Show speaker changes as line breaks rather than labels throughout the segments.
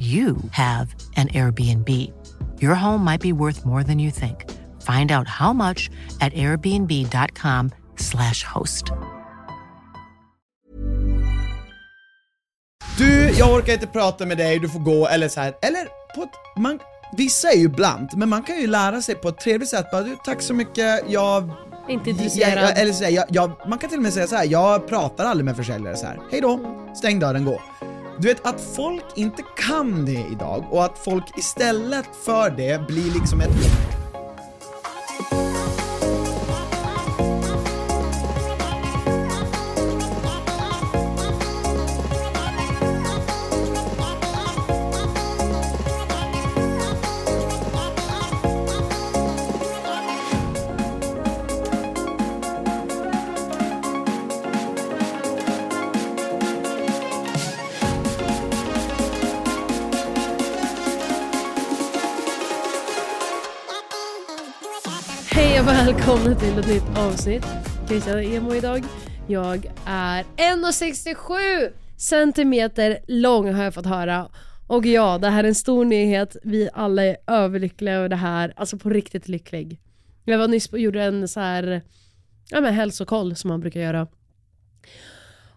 you have an Airbnb. Your home might be worth more than you think. Find out how much at airbnb.com/slash host.
Du, jag orkar inte prata med dig, du får gå, eller så här. eller på ett, man, vissa är ju blunt, men man kan ju lära sig på ett trevligt sätt bara du, tack så mycket, jag...
Inte
jag,
intresserad.
jag eller så här, jag, jag, man kan till och med säga så här. jag pratar aldrig med försäljare så här. hej då, stäng dörren, gå. Du vet att folk inte kan det idag och att folk istället för det blir liksom ett...
Hej och välkomna till ett nytt avsnitt. Christian är emo idag. Jag är 1,67 centimeter lång har jag fått höra. Och ja, det här är en stor nyhet. Vi alla är överlyckliga över det här. Alltså på riktigt lycklig. Jag var nyss och gjorde en så här, ja men hälsokoll som man brukar göra.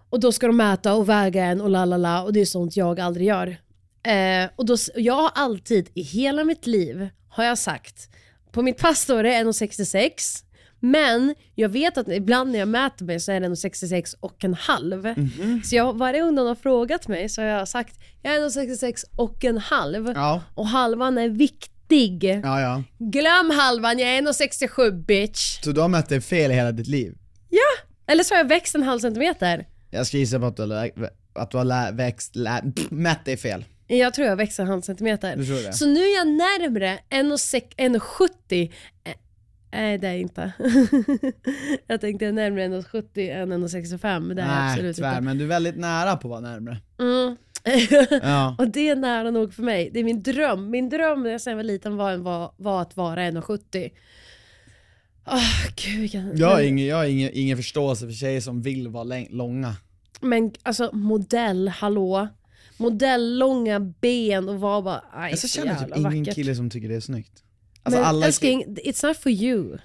Och då ska de mäta och väga en och la la la och det är sånt jag aldrig gör. Eh, och då, s- jag har alltid i hela mitt liv har jag sagt, på mitt pass står det 1,66 men jag vet att ibland när jag mäter mig så är det 1,66 och en halv.
Mhm.
Så jag, varje gång någon har frågat mig så har jag sagt jag är 1,66 och en halv.
Ja,
Och halvan är viktig.
ja, ja.
Glöm halvan, jag är 1,67 bitch.
Så du har mött dig fel i hela ditt liv?
Eller så har jag växt en halv centimeter.
Jag ska gissa på att du har, lä- att du har lä- växt, lä- pff, mätt dig fel.
Jag tror jag växer en halv centimeter.
Du tror det?
Så nu är jag närmre 1,70. Eh, Nej det är jag inte. jag tänkte jag är närmre 1,70 än 1,65. Det är jag
Nej,
absolut
tyvärr,
inte.
men du är väldigt nära på att vara närmre.
Mm.
Ja.
Och det är nära nog för mig. Det är min dröm. Min dröm när jag sen var liten var, var, var att vara 1,70. Åh gud vilken...
Jag har, ingen, jag har ingen, ingen förståelse för tjejer som vill vara läng- långa.
Men alltså modell, hallå? Modell, långa ben och vara bara... Aj,
Jag så
så
känner typ
jävla
ingen
vackert.
kille som tycker det är snyggt. Alltså
Men
alla
älskling, it's not for you.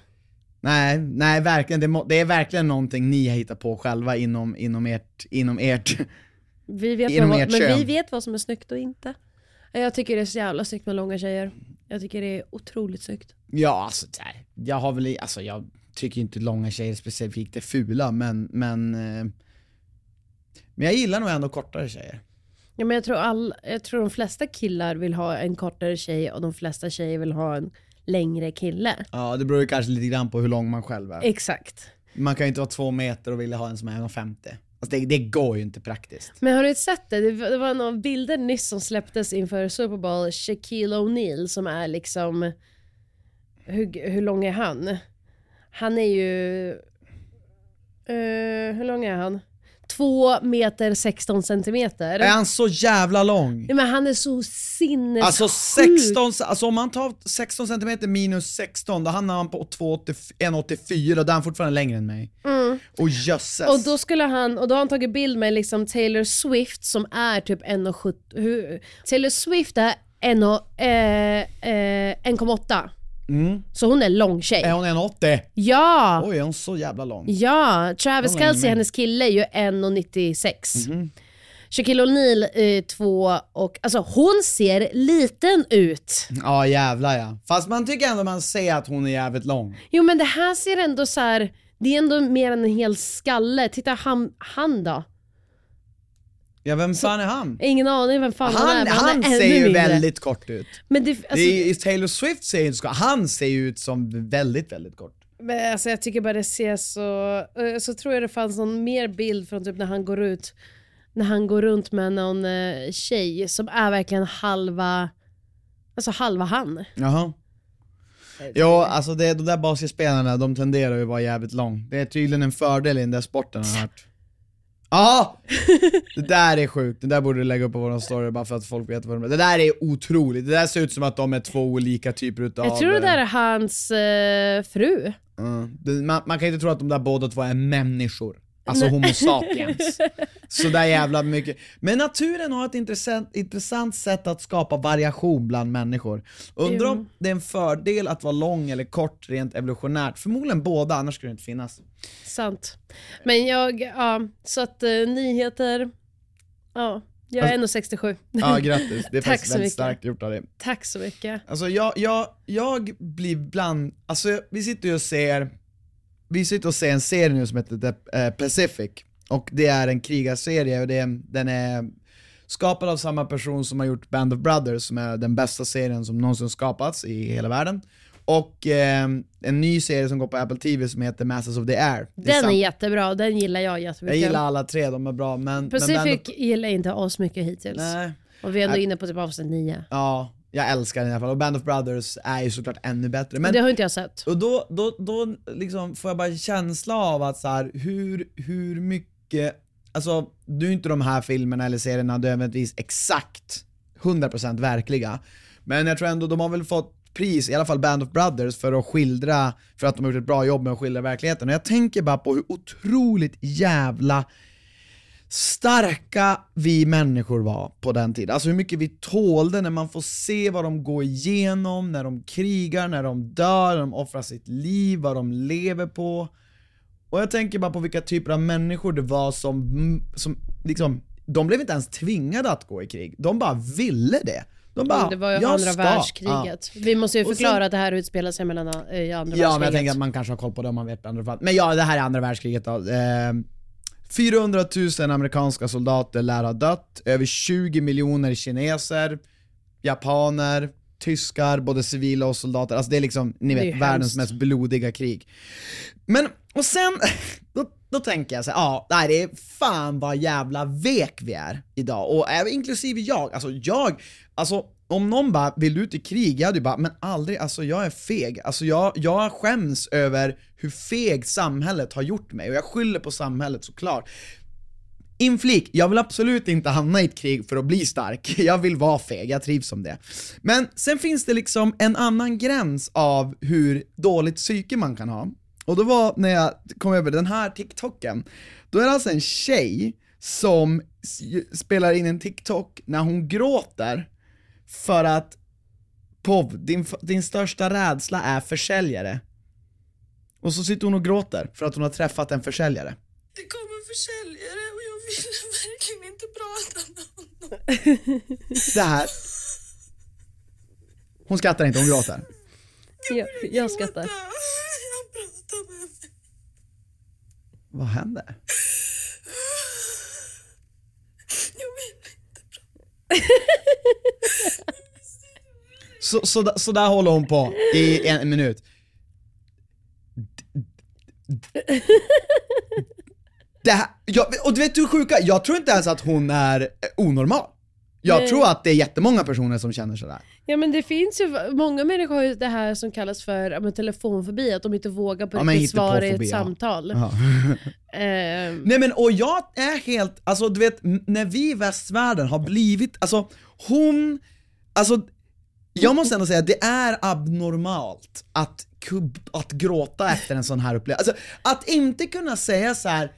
Nej, nej verkligen. Det, må, det är verkligen någonting ni har hittat på själva inom, inom ert, inom ert.
Vi vet
Inom
vad,
ert
men
kön.
vi vet vad som är snyggt och inte. Jag tycker det är så jävla snyggt med långa tjejer. Jag tycker det är otroligt snyggt.
Ja alltså, så här, jag har väl, i- alltså jag tycker inte långa tjejer specifikt är fula men, men, eh, men jag gillar nog ändå kortare tjejer.
Ja, men jag, tror all, jag tror de flesta killar vill ha en kortare tjej och de flesta tjejer vill ha en längre kille.
Ja det beror ju kanske lite grann på hur lång man själv är.
Exakt.
Man kan ju inte vara två meter och vilja ha en som är 1,50. Alltså det, det går ju inte praktiskt.
Men har du sett det? Det var det var några bilder nyss som släpptes inför Super Bowl. Shaquille O'Neal som är liksom... Hur, hur lång är han? Han är ju... eh, hur lång är han? 2 meter 16 centimeter.
Är han så jävla lång?
Nej, men han är så sinnessjuk.
Alltså 16, alltså om man tar 16 cm minus 16, då hamnar han på 2,84, 1,84 och då är han fortfarande längre än mig. Och jösses.
Mm. Och då skulle han, och då har han tagit bild med liksom Taylor Swift som är typ 1,70. hur- Taylor Swift är 1 och, eh, eh, 1,8.
Mm.
Så hon är lång tjej.
Är hon 1,80?
Ja!
Oj, är hon så jävla lång?
Ja, Travis
Hon är Mm-hmm.
Kelce,
med.
hennes kille, är ju 1,96. Shaquille O'Neal eh, två och alltså hon ser liten ut.
Ja jävlar ja. Fast man tycker ändå man ser att hon är jävligt lång.
Jo men det här ser ändå så här. det är ändå mer än en hel skalle. Titta han, han då.
Ja vem fan är han?
Ingen aning vem fan han, är
Han,
men han,
han
är ännu
ser ju
mindre.
väldigt kort ut.
Men det, alltså,
det är, ju- Taylor Swift ser ju inte så Han ser ju ut som väldigt, väldigt kort.
Men alltså jag tycker bara det ser så... eh, Så tror jag det fanns någon mer bild från typ när han går ut när han går runt med någon eh, tjej som är verkligen halva Alltså halva han.
Jaha. Ja, alltså det, de där basketspelarna, de tenderar ju att vara jävligt lång. Det är tydligen en fördel i den där sporten har jag hört. Ja! Det där är sjukt, det där borde du lägga upp på våran story bara för att folk vet vad de är. Det där är otroligt, det där ser ut som att de är två olika typer utav...
Jag tror det där
eh,
är hans eh, fru.
ja. Det- man, man kan ju inte tro att de där båda två är människor. Alltså homo sapiens. Sådär jävla mycket. Men naturen har ett intressant, intressant sätt att skapa variation bland människor. Undrar om det är en fördel att vara lång eller kort rent evolutionärt. Förmodligen båda, annars skulle det inte finnas.
Sant. Men jag, ja. Så att eh, nyheter. Ja. Jag är ändå 67.
Alltså- Ja, grattis. Det är
Tack
faktiskt
så
väldigt
mycket.
starkt gjort av dig.
Tack så mycket.
Alltså jag, jag, jag blir bland, alltså vi sitter ju och ser, vi sitter och ser en serie nu som heter The eh, Pacific, och det är en krigarserie och det, är- den är skapad av samma person som har gjort Band of Brothers som är den bästa serien som någonsin skapats i hela världen. Och eh, en ny serie som går på Apple TV som heter Masters of the Air. Det
Den är
sam-
jättebra och den gillar jag
jag
jättemycket.
gillar alla tre, de är bra men... men Band
Pacific
of-
gillar inte oss mycket hittills.
nej.
Och vi är ändå inne på typ avsnitt 9.
Ja, jag älskar den i alla fall och Band of Brothers är ju såklart ännu bättre. Men
det har inte jag sett.
Och då, då, då liksom får jag bara en känsla av att så här, hur, hur mycket, alltså nu är inte de här filmerna eller serierna nödvändigtvis exakt 100% verkliga, men jag tror ändå de har väl fått pris, i alla fall Band of Brothers, för att skildra, för att de har gjort ett bra jobb med att skildra verkligheten. Och jag tänker bara på hur otroligt jävla starka vi människor var på den tiden. Alltså hur mycket vi tålde när man får se vad de går igenom, när de krigar, när de dör, när de offrar sitt liv, vad de lever på. Och jag tänker bara på vilka typer av människor det var som, som liksom, de blev inte ens tvingade att gå i krig. De bara ville det. De bara,
Mm, Det var ju
"Jag
andra
ska." Ja.
världskriget. Vi måste ju
Och sen-
förklara att det här utspelar sig mellan eh, i andra
Ja, men jag
världskriget.
tänker att man kanske har koll på det om man vet andra fall. Men ja, det här är andra världskriget då. Eh, 400 000 amerikanska soldater lär ha dött, över 20 miljoner kineser, japaner, tyskar, både civila och soldater. Alltså det är liksom, ni
Det är
vet,
ju
världens
hemskt.
mest blodiga krig. Men, och sen, då, då tänker jag så här, ja, nej, det är fan vad jävla vek vi är idag. Och även inklusive jag, alltså jag, alltså om någon bara, vill du ut i krig? Jag hade ju bara, men aldrig, alltså jag är feg. Alltså jag, jag skäms över hur feg samhället har gjort mig och jag skyller på samhället såklart. Inflik, jag vill absolut inte hamna i ett krig för att bli stark. Jag vill vara feg, jag trivs som det. Men sen finns det liksom en annan gräns av hur dåligt psyke man kan ha. Och då var när jag kom över den här TikToken, då är det alltså en tjej som s- spelar in en TikTok när hon gråter för att Pov, din, f- din största rädsla är försäljare. Och så sitter hon och gråter för att hon har träffat en försäljare.
Det kom en försäljare och jag ville verkligen inte prata med honom.
Det här. Hon skrattar inte, hon gråter.
Jag, jag skrattar.
Han pratade med mig.
Vad händer?
Jag ville inte.
Så, så, da- så där håller hon på i en minut. Det här, jag, och du vet hur sjuka, jag tror inte ens att hon är eh, onormal. Jag
Nej.
tror att det är jättemånga personer som känner sådär.
Ja men det finns ju, många människor har ju det här som kallas för ja, men telefonfobi, att de inte vågar på
Ja, men
riktigt svara i
hittepåfobi,
ett
ja.
samtal.
Ja.
Ehm,
Nej men och jag är helt, alltså du vet, n- när vi i västvärlden har blivit, alltså hon, alltså jag måste ändå säga att det är abnormalt att, kub- att gråta efter en sån här upplevelse. Alltså att inte kunna säga så här.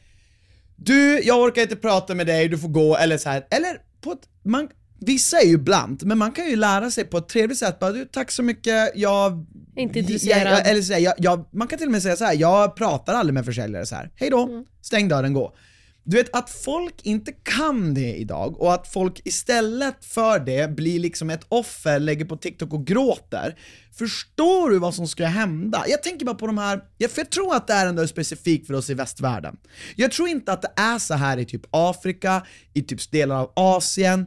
du jag orkar inte prata med dig, du får gå, eller så här. eller på ett, man, vissa är ju blunt, men man kan ju lära sig på ett trevligt sätt bara du tack så mycket, jag...
Inte
jag,
intresserad.
jag, eller
Mm.
så här, jag, jag, man kan till och med säga så här. jag pratar aldrig med försäljare så här. hej då, stäng dörren, gå. Du vet att folk inte kan det idag och att folk istället för det blir liksom ett offer, lägger på TikTok och gråter. Förstår du vad som ska hända? Jag tänker bara på de här, ja, för jag tror att det här ändå är specifikt för oss i västvärlden. Jag tror inte att det är så här i typ Afrika, i typ delar av Asien,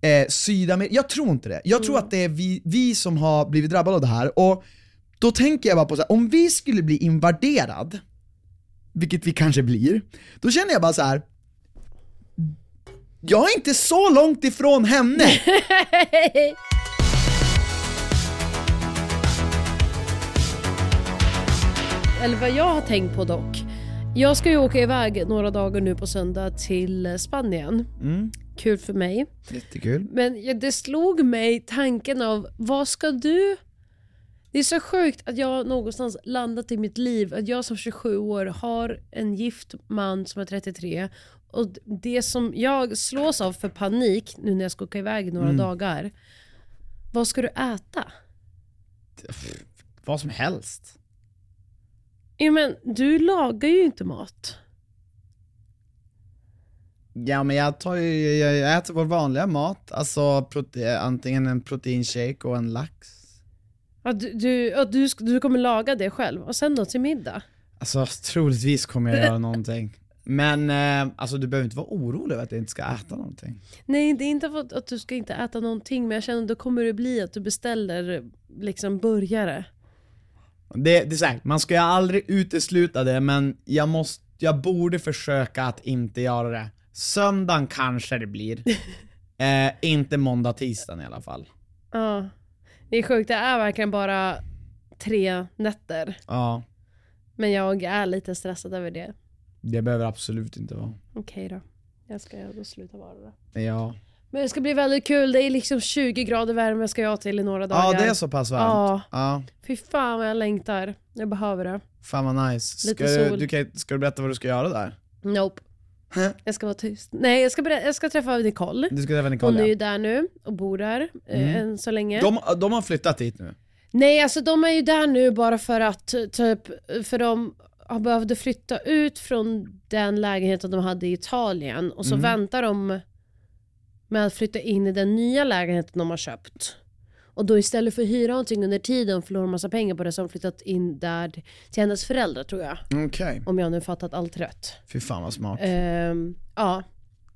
eh, Sydamerika. Jag tror inte det. Jag tror att det är vi, vi som har blivit drabbade av det här. Och då tänker jag bara på så här, om vi skulle bli invaderad, vilket vi kanske blir, då känner jag bara så här. Jag är inte så långt ifrån henne!
Eller vad jag har tänkt på dock. Jag ska ju åka iväg några dagar nu på söndag till Spanien.
Mm.
Kul för mig.
Jättekul.
Men jag- det slog mig tanken av, vad ska du... Det är så sjukt att jag någonstans landat i mitt liv, att jag som 27 år har en gift man som är 33. Och det som jag slås av för panik nu när jag ska åka iväg i några dagar. Vad ska du äta?
Vad som helst.
Ja, men du lagar ju inte mat.
Ja men jag, tar ju, jag jag äter vår vanliga mat, alltså prote- antingen en proteinshake och en lax.
Ja, du, du, ja, du, sk- du kommer laga det själv och sen då till middag.
Alltså troligtvis kommer jag göra någonting. Men eh, alltså du behöver inte vara orolig över att jag inte ska äta någonting.
Nej, det är inte för att, att du ska inte äta någonting, men jag känner att då kommer det bli att du beställer liksom burgare.
Det, det är så här, man ska ju aldrig utesluta det men jag måste, jag borde försöka att inte göra det. Söndagen kanske det blir. eh, inte måndag, tisdagen i alla fall.
Ja. Det är sjukt, det är verkligen bara tre nätter.
Ja,
Men jag är lite stressad över det.
det behöver absolut inte vara.
Okej då. Jag ska då sluta vara det.
Ja,
Men det ska bli väldigt kul, det är liksom 20 grader värme ska jag till i några dagar.
ja det är så pass varmt.
Ja.
ja.
Fy fan vad jag längtar. Jag behöver det.
Fan vad nice. Ska
Lite
du,
sol.
du kan, ska du berätta vad du ska göra där?
Nope. jag ska vara tyst. Nej, jag ska, berä- jag ska träffa Nicole.
Du ska träffa
Hon är
Nicole
ju
ja. Mm.
där nu och bor där eh, än så länge.
de, de har flyttat hit nu.
Nej, alltså de är ju där nu bara för att ty- typ, för de har behövde flytta ut från den lägenheten de hade i Italien och så väntar de med att flytta in i den nya lägenheten de har köpt. Och då istället för att hyra någonting under tiden förlorar de massa pengar på det så har de flyttat in där till hennes föräldrar tror jag.
Okej.
Om jag nu fattat allt rätt.
Fy fan vad smart.
Ehm, ja.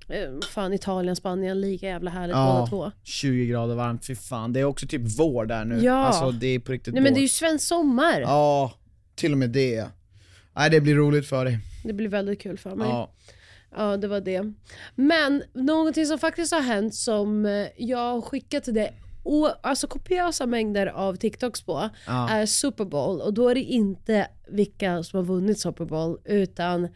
Ehm, fan Italien, Spanien, lika jävla härligt båda två.
20 grader varmt, fy fan. Det är också typ vår där nu.
Ja.
Alltså det är på riktigt
Nej men
vår.
det är ju svensk sommar.
Ja, till och med det. Nej det blir roligt för dig.
Det blir väldigt kul för mig.
Ja.
Ja, det var det. Men någonting som faktiskt har hänt som eh, jag har skickat till dig o- alltså kopiösa mängder av TikToks på
Ja.
är Super Bowl och då är det inte vilka som har vunnit Super Bowl utan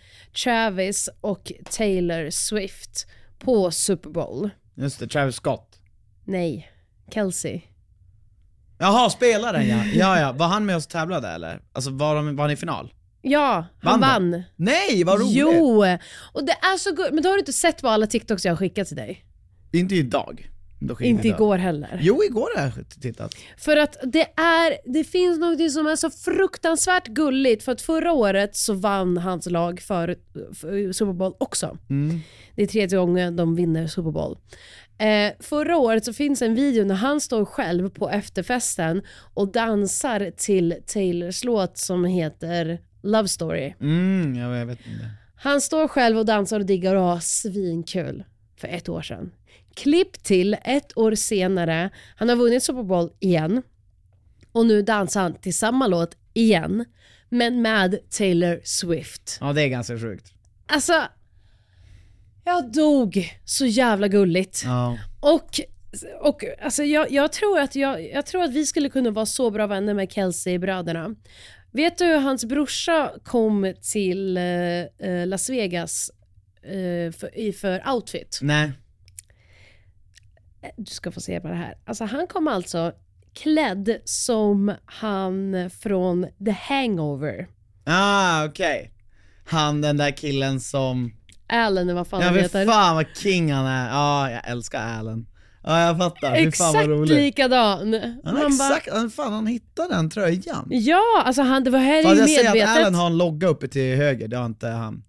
Travis och Taylor Swift på Super Bowl.
Just det, Travis Scott.
Nej, Kelsey.
Jaha, spelaren ja. ja, ja. Var han med oss och tävlade eller? Alltså var, de, var han i final?
Ja,
Vann
han
de?
vann.
Nej, vad roligt!
Jo! Och det är så gulligt. Men då har du inte sett vad alla TikToks jag har skickat till dig.
Inte idag. Då skickar
Inte
jag.
igår heller.
Jo, igår har jag tittat.
För att det är, det finns något som är så fruktansvärt gulligt för att förra året så vann hans lag för, för Super Bowl också. Det är tredje gången de vinner Super Bowl. Eh, förra året så finns en video när han står själv på efterfesten och dansar till Taylors låt som heter Love Story.
Mm, jag, jag vet inte.
Han står själv och dansar och diggar och har svinkul för ett år sedan. Klipp till ett år senare, han har vunnit Super Bowl igen och nu dansar han till samma låt igen, men med Taylor Swift.
Ja, det är ganska sjukt.
Alltså, jag dog så jävla gulligt.
Ja.
Och, och alltså jag, jag, tror att jag, jag tror att vi skulle kunna vara så bra vänner med Kelsey-bröderna. Vet du hur hans brorsa kom till eh, eh, Las Vegas eh, för, i, för outfit?
Nej.
Du ska få se på det här. Alltså han kom alltså klädd som han från The Hangover.
Ah, okej. Han den där killen som...
Allen eller vad fan
Ja
han
fy
heter.
fan vad king han är. Ja, jag älskar Allen. Ja, jag fattar. Fy fan vad
Exakt
roligt.
likadan.
Han,
Man bara-
exakt, han, fan, han hittade den tröjan.
Ja, alltså han, det var här
Fast
ju
jag ser att
medvetet.
Allen har en logga uppe till höger, det har inte han.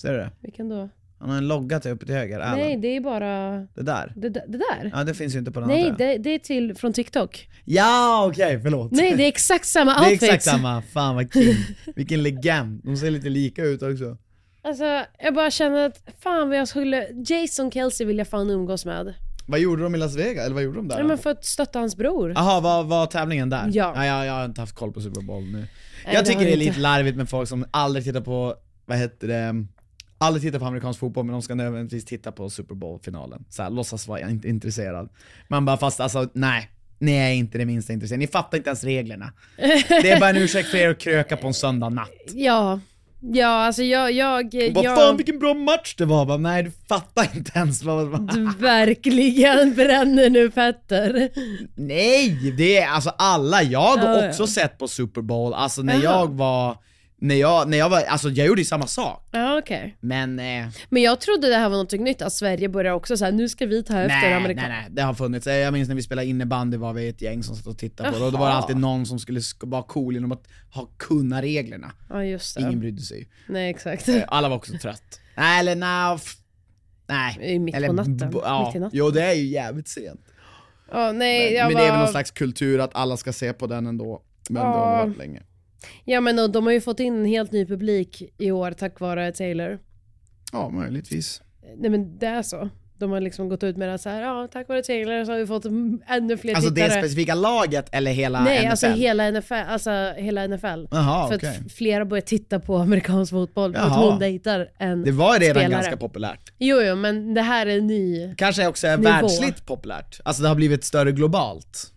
Ser du det?
Vilken då?
Han har en logga till uppe till höger, Alan.
Nej, det är bara
Det där.
det, det där.
Ja, det finns ju inte på den
Nej,
andra.
det, det är till från TikTok.
Ja, okej, förlåt.
Nej, det är exakt samma
det är
outfits.
exakt samma. Fan vad king. Vilken legend. De ser lite lika ut också.
Alltså, jag bara känner att fan vad jag skulle... Jason Kelsey vill jag fan umgås med.
Vad gjorde de i Las Vegas? Eller vad gjorde de där?
Ja.
då?
Men för att stötta hans bror.
Jaha, var, var tävlingen där?
Ja.
Nej, jag, jag har inte haft koll på Super Bowl nu.
Nej,
jag
det har
tycker det är
jag
lite
inte.
larvigt med folk som aldrig tittar på, vad heter det, aldrig tittar på amerikansk fotboll men de ska nödvändigtvis titta på Super Bowl-finalen. Såhär, låtsas vara inte intresserad. Man bara, fast alltså nej. Ni är inte det minsta intresserade, ni fattar inte ens reglerna. Det är bara en ursäkt för er att kröka på en söndag natt.
Ja. Ja, alltså jag... jag,
Och bara,
jag
fan vilken bra match det var! Bara, nej du fattar inte ens vad... vad.
Du verkligen bränner nu Petter.
Nej! Det är alltså alla, jag har
Ja, ja.
också sett på Super Bowl, alltså när
Jaha.
jag var, när jag, när jag var, alltså jag gjorde ju samma sak.
Ja, okej.
Men eh,
Men jag trodde det här var något nytt, att Sverige börjar också så här, nu ska vi ta efter
nej, nej,
Amerika.
nej, det har funnits. Eh, Jag minns när vi spelade innebandy var vi ett gäng som satt och tittade på det och då var det
Jaha.
alltid någon som skulle sk- vara cool genom att ha kunna reglerna.
Ja, just det.
Ingen brydde sig.
Nej, exakt.
Eh, Alla var också trött. Nej eller nej. f- Nej.
Det är ju mitt på
eller,
natten.
b- Ja,
Mitt i natten.
Jo det är ju jävligt sent.
Ja, nej, jag
Men
bara...
det är väl någon slags kultur att alla ska se på den ändå. Men det har
Ja.
varit länge.
Ja, men och de har ju fått in en helt ny publik i år tack vare Taylor.
Ja, möjligtvis.
Nej men det är så. De har liksom gått ut med det så här, ja tack vare Taylor så har vi fått m- ännu fler
Alltså det
tittare.
specifika laget eller hela
Nej,
NFL?
alltså hela NFL. Alltså hela NFL.
Jaha,
För
okej.
att f- flera börjar titta på amerikansk fotboll för
Jaha.
att hon dejtar en
Det var redan
spelare.
ganska populärt.
Jo, jo, men det här är ny.
Kanske också är
Nivå.
världsligt populärt. Alltså det har blivit större globalt.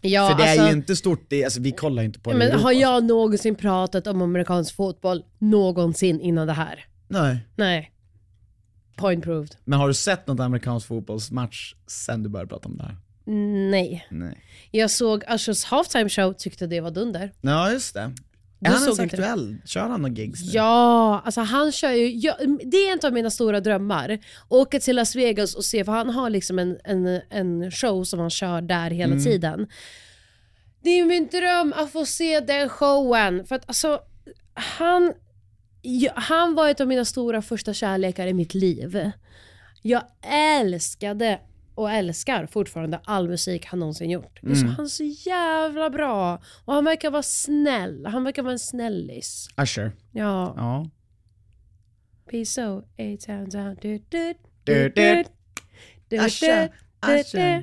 Ja,
För det
alltså,
är ju inte stort, det, alltså, vi kollar ju inte på det alltså. i
men
Europa.
har jag någonsin pratat om amerikansk fotboll någonsin innan det här?
Nej.
Nej. Point proved.
Men har du sett något amerikansk fotbollsmatch sen du började prata om det här?
Nej.
Nej.
Jag såg Ushers halftime show, tyckte det var dunder.
Ja just det.
Du
är han
såg
ens
inte det?
aktuell? Kör han några gigs nu?
Ja, alltså han kör ju, jag, det är en av mina stora drömmar. Åka till Las Vegas och se, för han har liksom en, en, en show som han kör där hela tiden. Det är ju min dröm att få se den showen. För att alltså, han, ja, han var ett av mina stora första kärlekar i mitt liv. Jag älskade och älskar fortfarande all musik han någonsin gjort. Det är så, han är så jävla bra. Och han verkar vara snäll. Han verkar vara en snällis.
Usher.
Ja.
Ah, Ja.
Peace out, A-town down. Du, du,
Du,
du,
du.
du. Du,
Asha,
du,
Asha.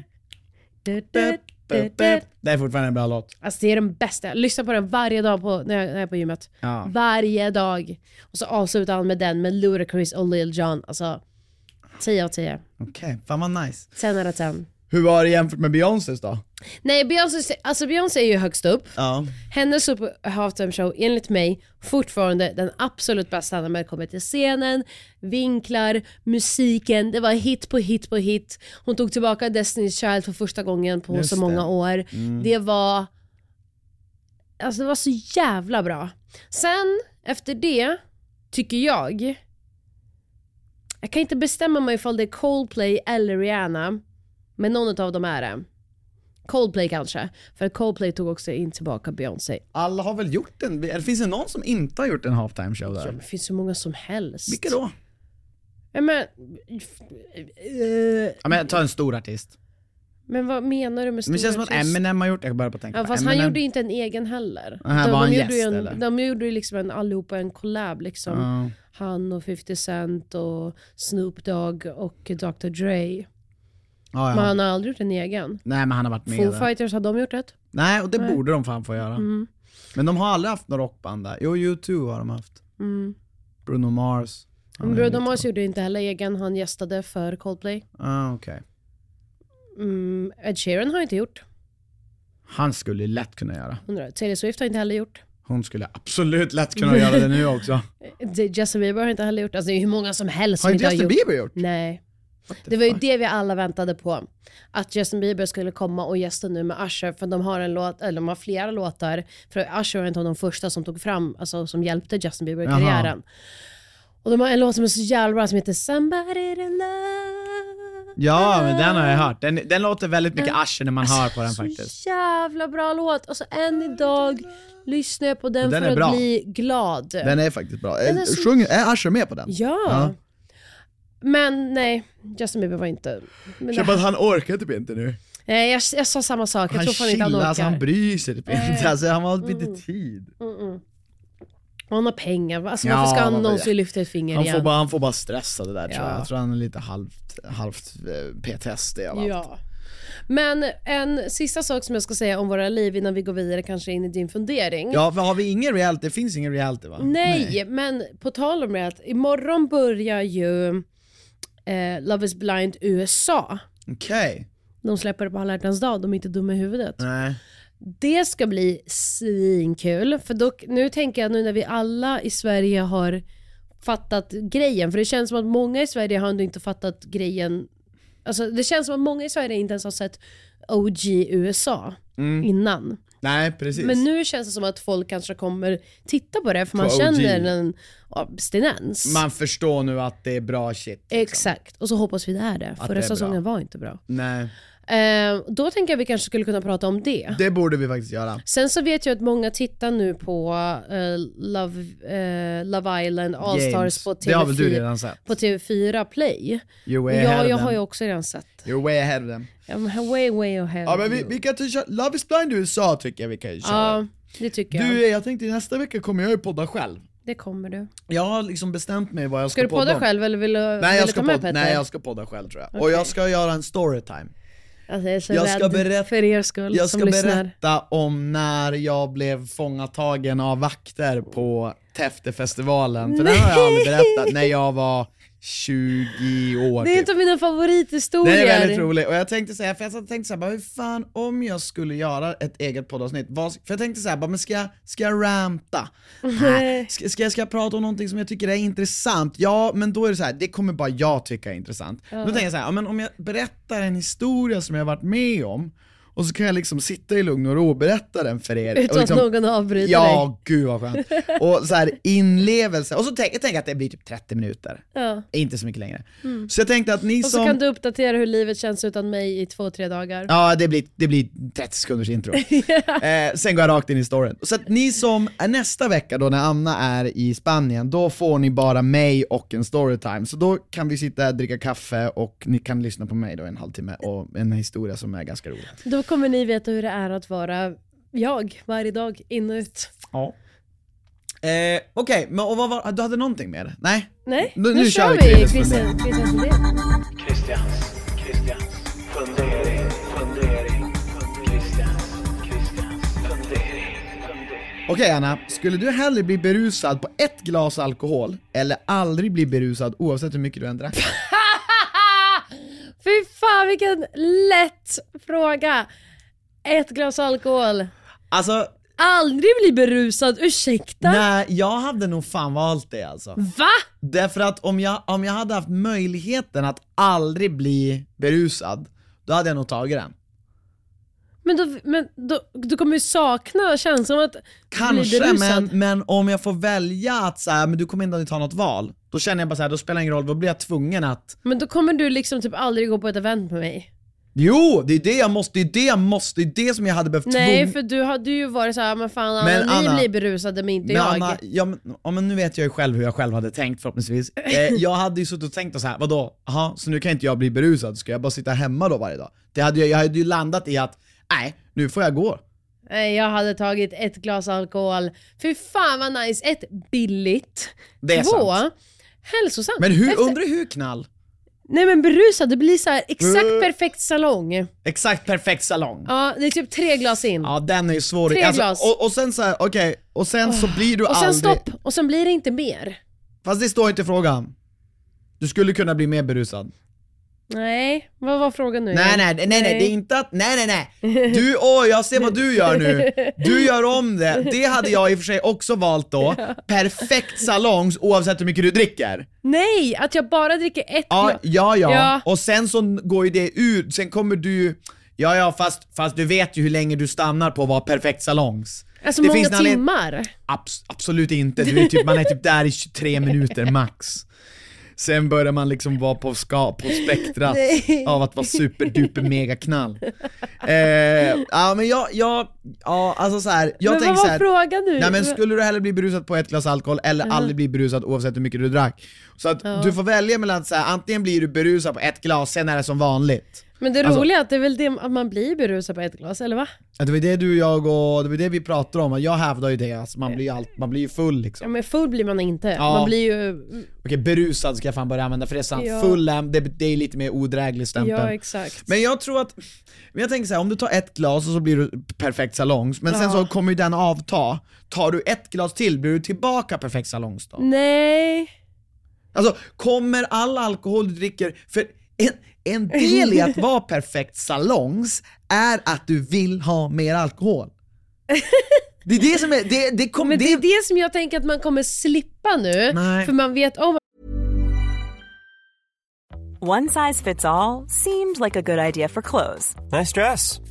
du, du, du,
Bup,
du,
bup,
du,
bup.
du.
Det är fortfarande en bra låt.
Alltså det är den bästa, jag lyssnar på den varje dag på, när, jag, när jag är på gymmet.
Ja.
Varje dag. Och så avslutar han med den med Ludacris och Lil Jon. Alltså 10 av 10.
Okej, fan vad nice.
10 out of 10.
Hur var det jämfört med Beyoncés då?
Nej Beyoncé, alltså Beyoncé är ju högst upp.
Ja.
Hennes Super halftime show, enligt mig, fortfarande den absolut bästa när det kommer till scenen, vinklar, musiken. Det var hit på hit på hit. Hon tog tillbaka Destiny's Child för första gången på
Just
så
det. Mm.
många år. Det var... Alltså det var så jävla bra. Sen, efter det, tycker jag... Jag kan inte bestämma mig ifall det är Coldplay eller Rihanna, men någon av dem är det. Coldplay kanske. För Coldplay tog också in tillbaka Beyoncé.
Alla har väl gjort en, eller finns det någon som inte har gjort en halftime show
Ja,
där?
men det finns hur många som helst.
Vilka då?
Ja, men, eh,
Ja, men ta en stor artist.
men vad menar du med stor
Men det känns som att
artist?
Eminem har gjort det, jag börjar på att tänka
Ja,
på
fast han
Eminem.
gjorde ju inte en egen heller.
Och här var han
gjorde ju
gäst,
en,
eller?
de gjorde ju liksom en, allihopa en collab liksom.
Ja.
Han och 50 Cent och Snoop Dogg och Dr Dre.
Ja, ja.
Men han har aldrig gjort en egen.
Nej men han har varit med
Foo Mm.
där.
Fighters, har de gjort ett?
Nej och det borde de fan få göra. Men de har aldrig haft några rockband där. Jo, U2 har de haft. Bruno Mars. Ja,
Men
det är
Mm. Bruno
lite-
Mars gjorde inte heller egen, han gästade för Coldplay.
Ah, okej.
Mm, Ed Sheeran har inte gjort.
Han skulle lätt kunna göra.
Undrar, Taylor Swift har inte heller gjort.
Hon skulle absolut lätt kunna göra det nu också.
Det- Eh, Justin Bieber har inte heller gjort. Alltså det är ju hur många som helst
Har
som inte
inte
har
Justin
gjort.
Bieber gjort?
Nej.
the
Det var ju
fuck?
det vi alla väntade på. Att Justin Bieber skulle komma och gästa nu med Usher, för de har en låt, eller de har flera låtar. För Usher är en av de första som tog fram, alltså som hjälpte Justin Bieber i
Jaha.
karriären. Och de har en låt som är så jävla bra som heter “Somebody to love”.
Ja, men den har jag hört. Den, den låter väldigt mycket Usher när man hör på den
Alltså,
faktiskt.
Så jävla bra låt. Alltså än idag lyssnar jag på den,
Den är
för att
bra.
bli glad.
Den är faktiskt bra.
är så-
Sjunger, är Usher med på den?
Ja.
Ja.
Men nej, Justin Bieber var inte... Men alltså-
Känner bara att han orkar typ inte nu.
nej, Eh, jag, jag sa samma sak, jag
Han
tror fan inte han
chillar,
orkar. Mm.
alltså, han bryr sig typ inte. Alltså, han har inte tid.
Och han har pengar, alltså,
Ja,
varför ska han
man blir-
någonsin lyfta ett finger
Han
igen?
får, bara, han får bara stressa det där tror
Ja.
jag. Jag tror han är lite halvt, halvt eh, PTSD av allt.
Ja. Men en sista sak som jag ska säga om våra liv innan vi går vidare kanske in i din fundering.
Ja, för har vi ingen reality? Det finns ingen reality va?
Nej, men på tal om det, att imorgon börjar ju eh, Love is blind USA.
Okej.
De släpper det på alla hjärtans dag, de är inte dumma i huvudet.
Nej.
Det ska bli svinkul. För dock, nu tänker jag nu när vi alla i Sverige har fattat grejen. För det känns som att många i Sverige har ändå inte fattat grejen. Alltså det känns som att många i Sverige inte ens har sett OG USA innan.
Nej, Mm. precis.
Men nu känns det som att folk kanske kommer titta på det för man
På OG.
känner en abstinens.
Man förstår nu att det är bra shit. liksom.
Exakt, och så hoppas vi det är det.
det är
Förra säsongen var inte bra.
Nej.
Eh, då tänker jag vi kanske skulle kunna prata om det.
Det borde vi faktiskt göra.
Sen så vet jag att många tittar nu på eh, Love, eh, Love Island All Stars
Games.
på TV4,
Det har väl du redan sett?
på TV4 Play.
You're way ahead
Ja,
of
jag
them.
har ju också redan sett.
You're way ahead of them.
I'm way way ahead.
Ja men vi, vi kan ty- köra, Love is blind USA tycker jag vi kan ju köra.
ja det tycker jag.
du, jag tänkte nästa vecka kommer jag ju podda själv.
Det kommer du.
Jag har liksom bestämt mig vad jag ska,
Ska du podda
om.
själv eller vill du,
Nej
vill
jag,
du
ska
ta med
podda,
Petter?
nej jag ska podda själv tror jag. Och jag ska göra en storytime.
alltså, jag är så
jag
rädd
ska berätta-
för er skull
Jag
som
ska
lyssnar.
berätta om när jag blev fångatagen av vakter på Täftefestivalen. För den har jag aldrig berättat. När jag var 20 år
Det är
typ.
inte mina favorithistorier.
Det är väldigt roligt, och jag tänkte säga, för jag satt och tänkte såhär, hur fan om jag skulle göra ett eget poddavsnitt, vad, för jag tänkte såhär, bara, men ska, jag- ska jag ranta? Nej. Ska, ska, jag, ska jag prata om någonting som jag tycker är intressant? Ja, men då är det så här, det kommer bara jag tycka är intressant. Då tänker jag såhär, ja, men om jag berättar en historia som jag har varit med om, och så kan jag liksom sitta i lugn och ro och berätta den för er.
Utan
och liksom,
att någon avbryter
Ja,
dig.
gud vad skönt. Och så här inlevelse, och så tänker jag tänker att det blir typ 30 minuter.
Ja. Mm.
Inte så mycket längre. Så jag tänkte att ni
Och så
som...
kan du uppdatera hur livet känns utan mig i två, tre dagar.
Ja, det blir, det blir 30 sekunders intro. eh, sen går jag rakt in i storyn. Så att ni som är nästa vecka då när Anna är i Spanien, då får ni bara mig och en storytime. Så då kan vi sitta här, dricka kaffe och ni kan lyssna på mig då i en halvtimme och en historia som är ganska rolig.
Då kommer ni veta hur det är att vara jag varje dag, in och ut.
Ja. Eh, Okej, men och vad var, du hade någonting mer? Nej?
Nej,
Nu- nu kör vi Christians
Christian, Christian Sundin.
Christians, Christians, fundering, fundering, Christians, Christians, fundering, fundering.
Okej Anna, skulle du hellre bli berusad på ett glas alkohol eller aldrig bli berusad oavsett hur mycket du än drack?
Fy fan vilken lätt fråga! Ett glas alkohol.
Alltså,
Aldrig bli berusad, ursäkta?
nej jag hade nog fan valt det alltså.
Va?
Därför att om jag, om jag hade haft möjligheten att aldrig bli berusad, då hade jag nog tagit den.
Men, då, men då, du kommer ju sakna känslan av att bli
Kanske,
berusad.
men, men om jag får välja att så här, men du kommer inte att ta något val, då känner jag bara så här, då spelar det ingen roll, då blir jag tvungen att...
Men då kommer du liksom typ aldrig gå på ett event med mig.
Jo, det är det jag måste, det är det jag måste, det är det som jag hade behövt
Nej,
tvung-
för du hade ju varit såhär, men fan Anna,
Men
ni
Anna-
blir berusade men inte
Men
jag.
Anna, ja, men, ja, men nu vet jag ju själv hur jag själv hade tänkt förhoppningsvis. Eh, jag hade ju suttit och tänkt och så här, vadå, Aha, så nu kan inte jag bli berusad, ska jag bara sitta hemma då varje dag? Det hade, jag- jag hade ju landat i att, nej, nu får jag gå.
Nej, Eh, jag hade tagit ett glas alkohol. Fy fan vad nice. Ett, billigt.
Det är
Två,
sant.
hälsosamt.
Men hur,
Efter-
undrar hur knall?
Nej men berusad, det blir så här exakt
Mm.
perfekt salong.
Exakt perfekt salong.
Ja, det är typ tre glas in.
Ja den är ju svår. Alltså,
Tre glas.
och, och sen så här, okej, och sen så blir du
och sen
aldrig...
stopp, och sen blir det inte mer.
Fast det står inte i frågan. Du skulle kunna bli mer berusad.
Nej, vad var frågan nu?
Nej
igen?
nej, nej nej det är inte att, nej nej nej. Du, åh jag ser vad du gör nu. Du gör om det. Det hade jag i och för sig också valt då. Perfekt salongs oavsett hur mycket du dricker.
Nej, att jag bara dricker ett
Ja,
glas.
ja, ja.
Ja.
Och sen så går ju det ut, sen kommer du... Ja, ja, fast, fast du vet ju hur länge du stannar på att vara perfekt salongs.
Alltså många
en anledning-
timmar.
Abs- absolut inte, du är typ, man är typ där i 23 minuter max. Sen börjar man liksom vara på, ska, på spektrat av att vara superduper mega knall. Eh, ja men jag, jag, ja alltså så här, jag
men
tänker
vad var
såhär,
frågan nu?
nej men skulle du hellre bli berusad på ett glas alkohol eller aldrig bli berusad oavsett hur mycket du drack? Så att du får välja mellan så här, antingen blir du berusad på ett glas, sen är det som vanligt.
men det
alltså-
roliga är att det är väl det att man blir berusad på ett glas, eller va?
Ja, Det var det du och jag och, det var det vi pratade om, och jag hävdar ju det, alltså, man blir ju allt, man blir ju full liksom.
Ja men full blir man inte.
Ja.
Man blir ju...
Okej, berusad ska jag fan börja använda för det är sant.
Ja.
Full am, det, det är lite mer odräglig stämpel.
Ja exakt.
men jag tror att, men jag tänker så här, om du tar ett glas och så blir du perfekt salongs, men sen
Ja.
så kommer ju den avta. Tar du ett glas till, blir du tillbaka perfekt salongs då?
Nej.
Alltså kommer all alkohol du dricker, för en, en del i att vara perfekt salongs är att du vill ha mer alkohol. Det är det som är, det, det kommer,
Men det är
det,
det som jag tänker att man kommer slippa nu.
Nej.
För man vet oh om
One size fits all seemed like a good idea for clothes
Nice dress.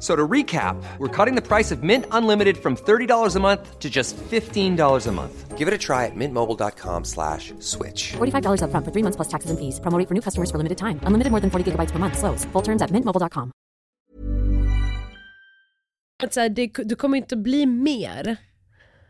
So to recap, we're cutting the price of Mint Unlimited from $30 a month to just $15 a month. Give it a try at mintmobile.com slash switch.
$45 upfront for three months plus taxes and fees. Promo rate for new customers for limited time. Unlimited more than 40 gigabytes per month. Slows. Full terms at mintmobile.com.
att så här, det, du kommer inte bli mer.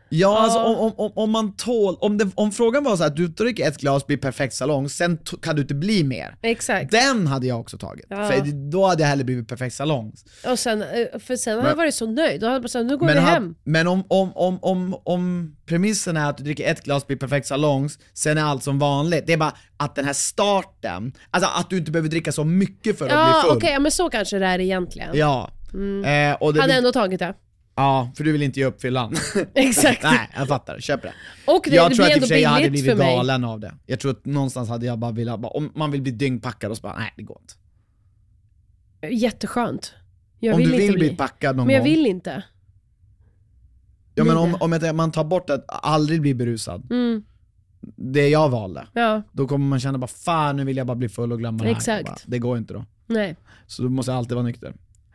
ja alltså om, om- om, om man tål, om, det, om frågan var så här, du dricker ett glas, blir perfekt salongs, sen to- kan du inte bli mer.
Exakt.
Den hade jag också tagit,
Ja.
för då hade jag hellre blivit perfekt salongs.
Och sen, eh, för sen har
Men-
jag varit så nöjd. Då hade jag bara sagt, nu går
Men,
vi
ha-
hem.
men om, om, om, om, om premissen är att du dricker ett glas, blir perfekt salongs, sen är allt som vanligt. Det är bara att den här starten, alltså att du inte behöver dricka så mycket för att
Ja
bli
okej,
full.
ja, men så kanske det är egentligen.
Ja. Eh, och det
Hade
vill,
ändå tagit det.
Ja, för du vill inte ge upp fyllan.
Exakt.
Nej, jag fattar. Köp det.
Och det,
jag
det
tror
blir
att i och
ändå
för sig jag hade
billigt för
blivit
mig.
galen av det. Jag tror att någonstans hade jag bara velat, bara, om man vill bli dyngpackad och så bara, nej det går inte.
Jätteskönt. Jag
om
vill
du
inte
vill
bli
bli packad någon
Men jag
gång.
vill inte.
ja men om,
bli
om jag, man tar bort att aldrig bli berusad,
Mm.
det jag valde,
Ja,
då kommer man känna bara fan nu vill jag bara bli full och glömma det här.
Exakt.
Bara, det går inte då.
nej.
Så du måste jag alltid vara nykter.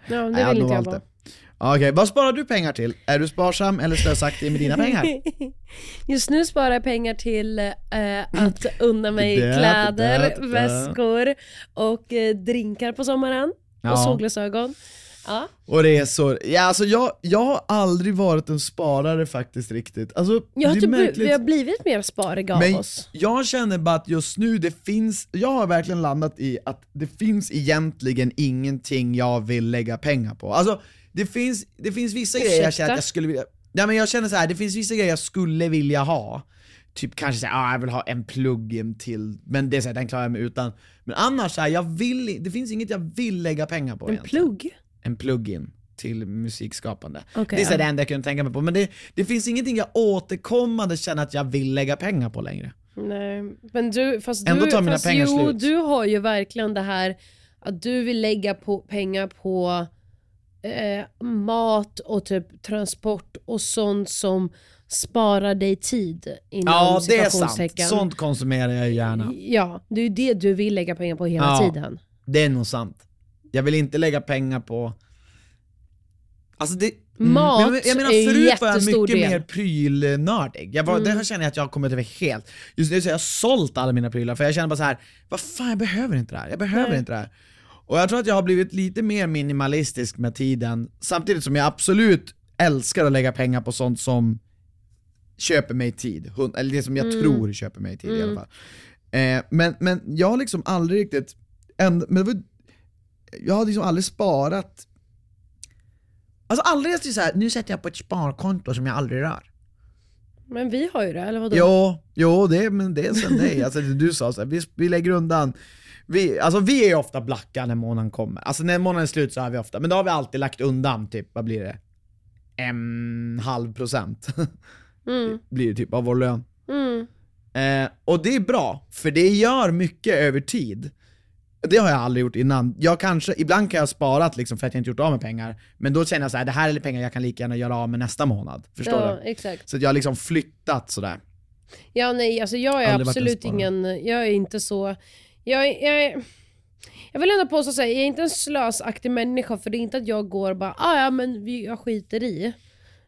Ja, det
Nej, hade
vill
nog
inte jag
valt
vara.
Ja, Okej, vad sparar du pengar till? Är du sparsam eller slösaktig med dina pengar?
Just nu sparar jag pengar till eh, att unna mig
Det där,
kläder,
det där, det där.
väskor och eh, drinkar på sommaren.
Ja.
Och solglasögon. Ja.
Och resor? Ja, alltså jag, jag har aldrig varit en sparare faktiskt riktigt. Alltså,
Jag har
det är
typ,
märkligt.
vi har blivit mer spariga av
Men
oss.
jag känner bara att just nu, det finns, jag har verkligen landat i att det finns egentligen ingenting jag vill lägga pengar på. Alltså, det finns, det finns vissa grejer jag känner att
Ursäkta?
jag skulle vilja, nej men jag känner så här, det finns vissa grejer jag skulle vilja ha. Typ kanske såhär, ah, jag vill ha en plugin till, men det är så här, den klarar jag mig utan. Men annars så här, jag vill, i- det finns inget jag vill lägga pengar på
En
egentligen.
plugg.
En plugin till musikskapande.
Okej,
det är så här,
ja.
det enda jag kunde tänka mig på. Men det, det finns ingenting jag återkommande känner att jag vill lägga pengar på längre.
Nej, men du, fast
Ändå
du,
tar mina
fast
pengar
jo,
slut.
du har ju verkligen det här att du vill lägga på, pengar på eh, mat och typ transport och sånt som sparar dig tid inom
Ja, det är sant.
citationstecken.
Sånt konsumerar jag ju gärna.
Ja, det är ju det du vill lägga pengar på hela
Ja.
tiden.
Det är nog sant. Jag vill inte lägga pengar på... Alltså det...
Mm. Mat
Men jag, jag menar,
är ju
förut var jag
jättestor
mycket
del. Mm.
mer prylnördig. Jag var, Det här känner jag att jag har kommit över helt. Just nu så har jag sålt alla mina prylar för jag känner bara så här, vad fan jag behöver inte det här. Jag behöver inte det här. Och jag tror att jag har blivit lite mer minimalistisk med tiden, samtidigt som jag absolut älskar att lägga pengar på sånt som köper mig tid. Hund- Eller det som
Mm.
jag tror köper mig tid i alla fall. Eh, men, men jag har liksom aldrig riktigt, änd- men det var, jag har liksom aldrig sparat Alltså aldrig så här, nu sätter jag på ett sparkonto som jag aldrig rör.
Men vi har ju det, eller vadå?
Jo, jo det, men det är sen dig. Alltså, det du sa så här, vi, vi lägger undan. Vi, alltså, vi är ju ofta blacka när månaden kommer. Alltså när månaden är slut så är vi ofta, men då har vi alltid lagt undan typ, vad blir det? En halv procent.
Mm.
blir det typ av vår lön.
Mm.
Eh, och det är bra, för det gör mycket över tid. Det har jag aldrig gjort innan. Jag kanske, ibland kan jag ha sparat liksom för att jag inte gjort av med pengar, men då känner jag så här: det här är pengar jag kan lika gärna göra av med nästa månad. Förstår
ja,
du?
exakt.
Så att jag har liksom flyttat sådär.
Ja, nej, alltså jag är
Aldrig varit en
absolut
sparare.
ingen, jag är inte så, jag är, jag är jag vill ändå påstå såhär, jag är inte en slösaktig människa för det är inte att jag går och bara ah, ja men vi, jag skiter i.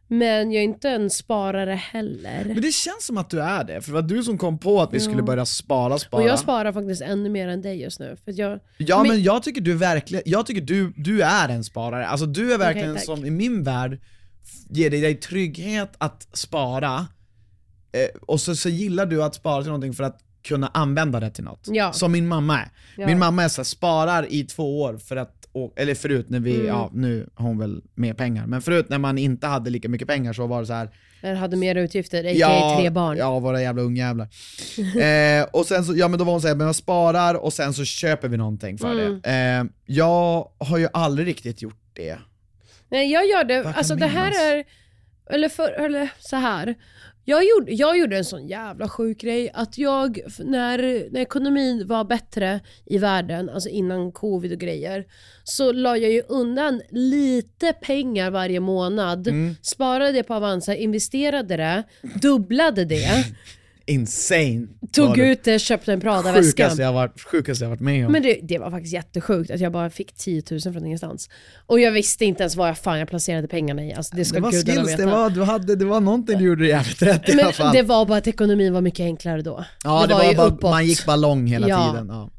Men jag är inte en sparare heller.
Men det känns som att du är det, för det var du som kom på att vi skulle börja spara, spara.
Och jag sparar faktiskt ännu mer än dig just nu. För att jag,
Ja men,
men-
jag tycker du verkligen, jag tycker du, du är en sparare. Alltså du är verkligen
tack.
som i min värld ger dig, dig trygghet att spara, eh, och så, så gillar du att spara till någonting för att kunna använda det till något.
Ja.
Som min mamma är.
Ja.
Min mamma är så här, sparar i två år för att, å- eller förut när vi,
Mm.
ja nu har hon väl mer pengar, men förut när man inte hade lika mycket pengar så var det så här
jag hade mer utgifter, a.k.a. tre barn.
Ja, våra jävla ungjävlar. eh, och sen så, ja men då var hon såhär, men jag sparar och sen så köper vi någonting för det.
Mm.
Eh, jag har ju aldrig riktigt gjort det.
Nej jag gör det,
kan
alltså det
minnas?
här är, eller, för, eller så här. Jag gjorde, jag gjorde en sån jävla sjuk grej att jag, f- när, när ekonomin var bättre i världen, alltså innan covid och grejer, så la jag ju undan lite pengar varje månad,
Mm.
sparade det på Avanza, investerade det, dubblade det,
Insane. var
tog
det.
ut det, köpte en Prada-väska.
Sjukaste jag, varit, sjukaste jag varit med om.
Men det, det var faktiskt jättesjukt att jag bara fick 10 000 från ingenstans. Och jag visste inte ens vad jag fan jag placerade pengarna i. Alltså, det ska
det var
gudarna
skills,
veta.
det var, du hade, det var någonting du gjorde jävligt rätt i alla
Men
fall.
det var bara att ekonomin var mycket enklare då.
ja, det, var bara, man gick ballong hela
Ja.
tiden. Ja.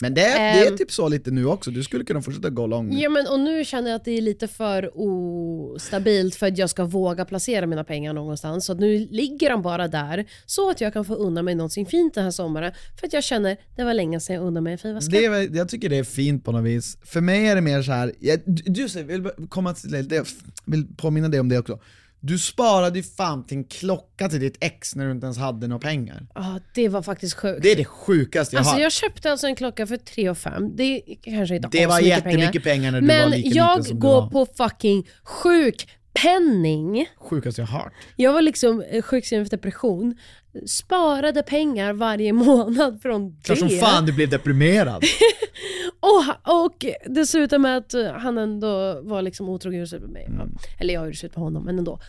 Men det, det är
Ehm.
typ så lite nu också, du skulle kunna fortsätta gå lång.
Ja, men, och nu känner jag att det är lite för ostabilt för att jag ska våga placera mina pengar någonstans. Så att nu ligger de bara där så att jag kan få unna mig någonting fint den här sommaren. För att jag känner, det var länge sedan jag unnade mig en fin
Det är, väl- jag tycker det är fint på något vis. För mig är det mer så här. Jag, du, just det, jag vill, bara komma till, det, jag vill påminna dig om det också. Du sparade ju fan till en klocka till ditt ex när du inte ens hade några pengar.
Ja, det var faktiskt sjukt.
Det är det sjukaste jag
Alltså
har.
jag köpte alltså en klocka för 3 och 5. Det är kanske inte
Det var
asmycket
jättemycket pengar när du
Men
var lika liten
jag
som du
går
var.
på fucking sjukpenning.
Sjukaste jag har hört.
Jag var liksom eh, sjukskriven för depression. Sparade pengar varje månad från det.
Klart som fan du blev deprimerad.
Och, och dessutom med att eh, han ändå var liksom otrogen och gjorde slut med mig.
Mm.
Eller jag gjorde slut med honom, men ändå.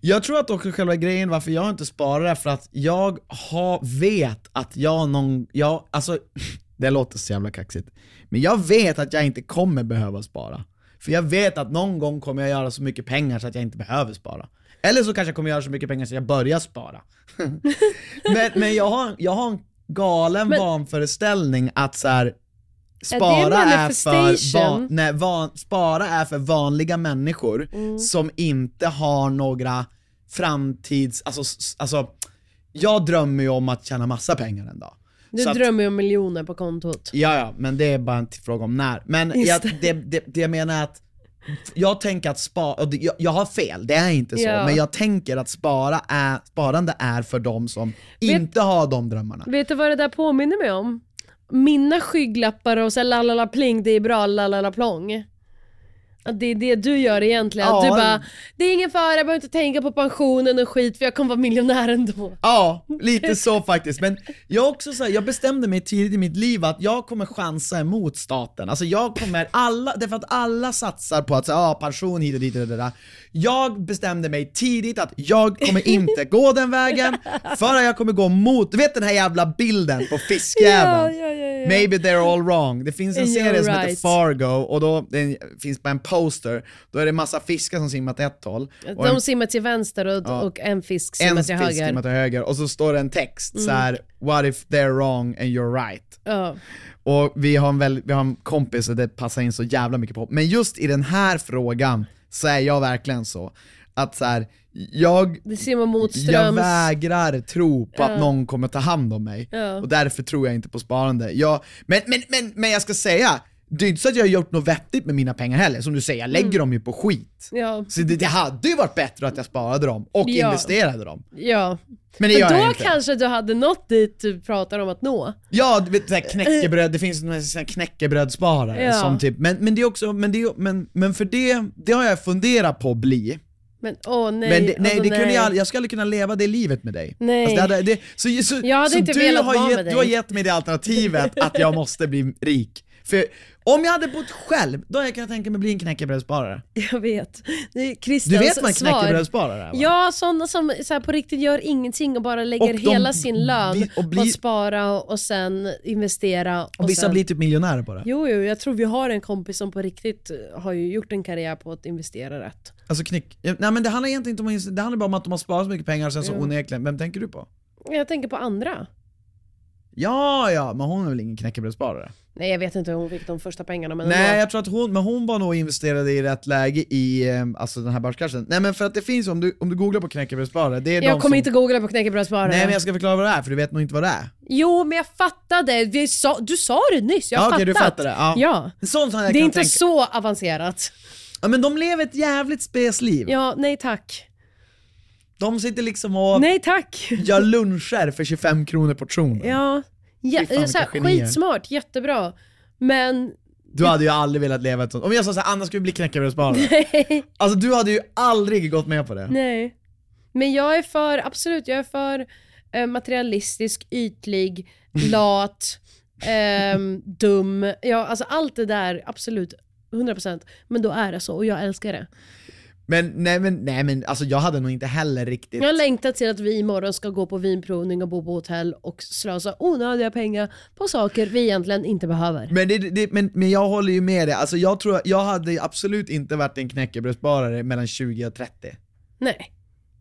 Jag tror att också själva grejen varför jag inte sparar är för att jag har, vet att jag någon, jag, alltså, det låter så jävla kaxigt. Men jag vet att jag inte kommer behöva spara. För jag vet att någon gång kommer jag göra så mycket pengar så att jag inte behöver spara. Eller så kanske jag kommer göra så mycket pengar så att jag börjar spara. men men jag, har, jag har en galen
Men-
vanföreställning att så här,
en
Spara är, för
manifestation?
van, nej, van, spara är för vanliga människor
Mm.
som inte har några framtids... Alltså, s- alltså, jag drömmer ju om att tjäna massa pengar en dag.
Du
Så att-
drömmer ju om miljoner på kontot.
Ja, ja, men det är bara en t- fråga om när. Men
Just
jag, det,
det.
det, det jag menar är att jag tänker att spara, jag, jag har fel, det är inte så,
Ja.
men jag tänker att spara är, sparande är för de som inte har de drömmarna.
Vet du vad det där påminner mig om? Mina skygglappar och så lalala pling, det är bra lalala plong. Att det är det du gör egentligen. Att
Ja.
Du bara, det är ingen fara, jag behöver inte tänka på pensionen och skit för jag kommer vara miljonär ändå.
Ja, lite så faktiskt. Men jag, också så här, jag bestämde mig tidigt i mitt liv att jag kommer chansa emot staten. Alltså jag kommer, alla, därför att alla satsar på att säga ah, pension hit och dit och det där. Jag bestämde mig tidigt att jag kommer inte gå den vägen, för att jag kommer gå mot, du vet den här jävla bilden på fiskjäveln?
Ja, ja, ja, ja.
Maybe they're all wrong. Det finns en
You're
serie som heter
right.
Fargo och då det finns på en poster, då är det massa fiskar som simmar åt ett håll. och en
De simmar till vänster och, och en fisk simmar
en
till
fisk
höger. Mm.
simmar till höger och så står det en text så här: “What if they're wrong and you're right?”
Ja.
Och vi har en, väl, vi har en kompis och det passar in så jävla mycket på. Men just i den här frågan så är jag verkligen så. Att så här, jag,
Det simmar mot
jag
ströms.
vägrar tro på att någon kommer ta hand om mig.
Ja.
Och därför tror jag inte på sparande. Jag, men, men, men, men jag ska säga, det är inte så att jag har gjort något vettigt med mina pengar heller. Som du säger, jag lägger
Mm.
dem ju på skit.
Ja.
Så det, det hade ju varit bättre att jag sparade dem och
Ja.
investerade dem.
ja.
Men det
För
gör jag
då
inte.
kanske du hade nått dit du pratar om att nå.
Ja, du vet, så här knäckebröd, det finns en sån här knäckebrödssparare
Ja.
som typ, men, men det är också, men, det är, men, men för det, det har jag funderat på att bli.
Men åh nej.
Men det, nej,
alltså,
det kunde jag, aldrig- jag skulle aldrig kunna leva det livet med dig.
Nej.
Alltså, det hade, det, så så,
Jag hade
så
inte
du
velat
har
vara
gett,
med
Du har
dig.
gett mig det alternativet att jag måste bli rik. För om jag hade bott själv, då hade jag kunnat tänka mig bli en knäckebrödssparare.
Jag vet. Det är
Du
Christians
vet vad en
svar.
knäckebrödssparare är va?
Ja, sådana som så här, på riktigt gör ingenting och bara lägger
Och de
hela sin lön
blir- och
och
blir-
på att spara och, och sen investera. Och,
Och vissa
sen...
blir typ miljonärer på det.
Alltså- Jo, jo, jag tror vi har en kompis som på riktigt har ju gjort en karriär på att investera rätt.
Alltså knyck. Nej men det handlar egentligen inte om att- det handlar bara om att de har sparat så mycket pengar och sen så onekligen, vem tänker du på?
Jag tänker på andra.
Ja, ja, men hon är väl ingen knäckebrödssparare?
Nej, jag vet inte hur hon fick de första pengarna men
Nej,
ändå.
jag tror att hon, men hon var nog investerade i rätt läge i eh, alltså den här börskraschen. Nej men för att det finns, om du, om du googlar på knäckebrödssparare, det är de
jag kommer
som...
inte googla på knäckebrödssparare.
Nej men jag ska förklara vad det är, för du vet nog inte vad det är.
Jo, men jag fattade. Vi sa... Du sa det nyss, jag har
Ja, okej, du
fattat.
fattar det, ja.
ja.
Sånt som jag
Det är
kan
inte
tänka.
så avancerat.
Ja, men de lever ett jävligt spesliv.
Ja, nej tack.
De sitter liksom och
Nej tack.
gör luncher för 25 kronor portionen.
Ja, ja
Typ. Fy fan,
så här,
vilka genier.
skitsmart, jättebra. Men
Du hade ju aldrig velat leva ett sånt. Om jag sa såhär, Anna ska vi bli knäckebrödssparare?
nej,
Alltså du hade ju aldrig gått med på det.
nej. Men jag är för, absolut, jag är för eh, materialistisk, ytlig, lat, ehm, dum. Ja, alltså allt det där, absolut. 100% Men då är det så och jag älskar det.
Men nej men, nej, men alltså, jag hade nog inte heller riktigt...
Jag längtar till att vi imorgon ska gå på vinprovning och bo på hotell och slösa onödiga pengar på saker vi egentligen inte behöver.
Men, det, det, men, men jag håller ju med dig, alltså, jag, tror, jag hade absolut inte varit en knäckebrödssparare mellan 20 och 30.
Nej.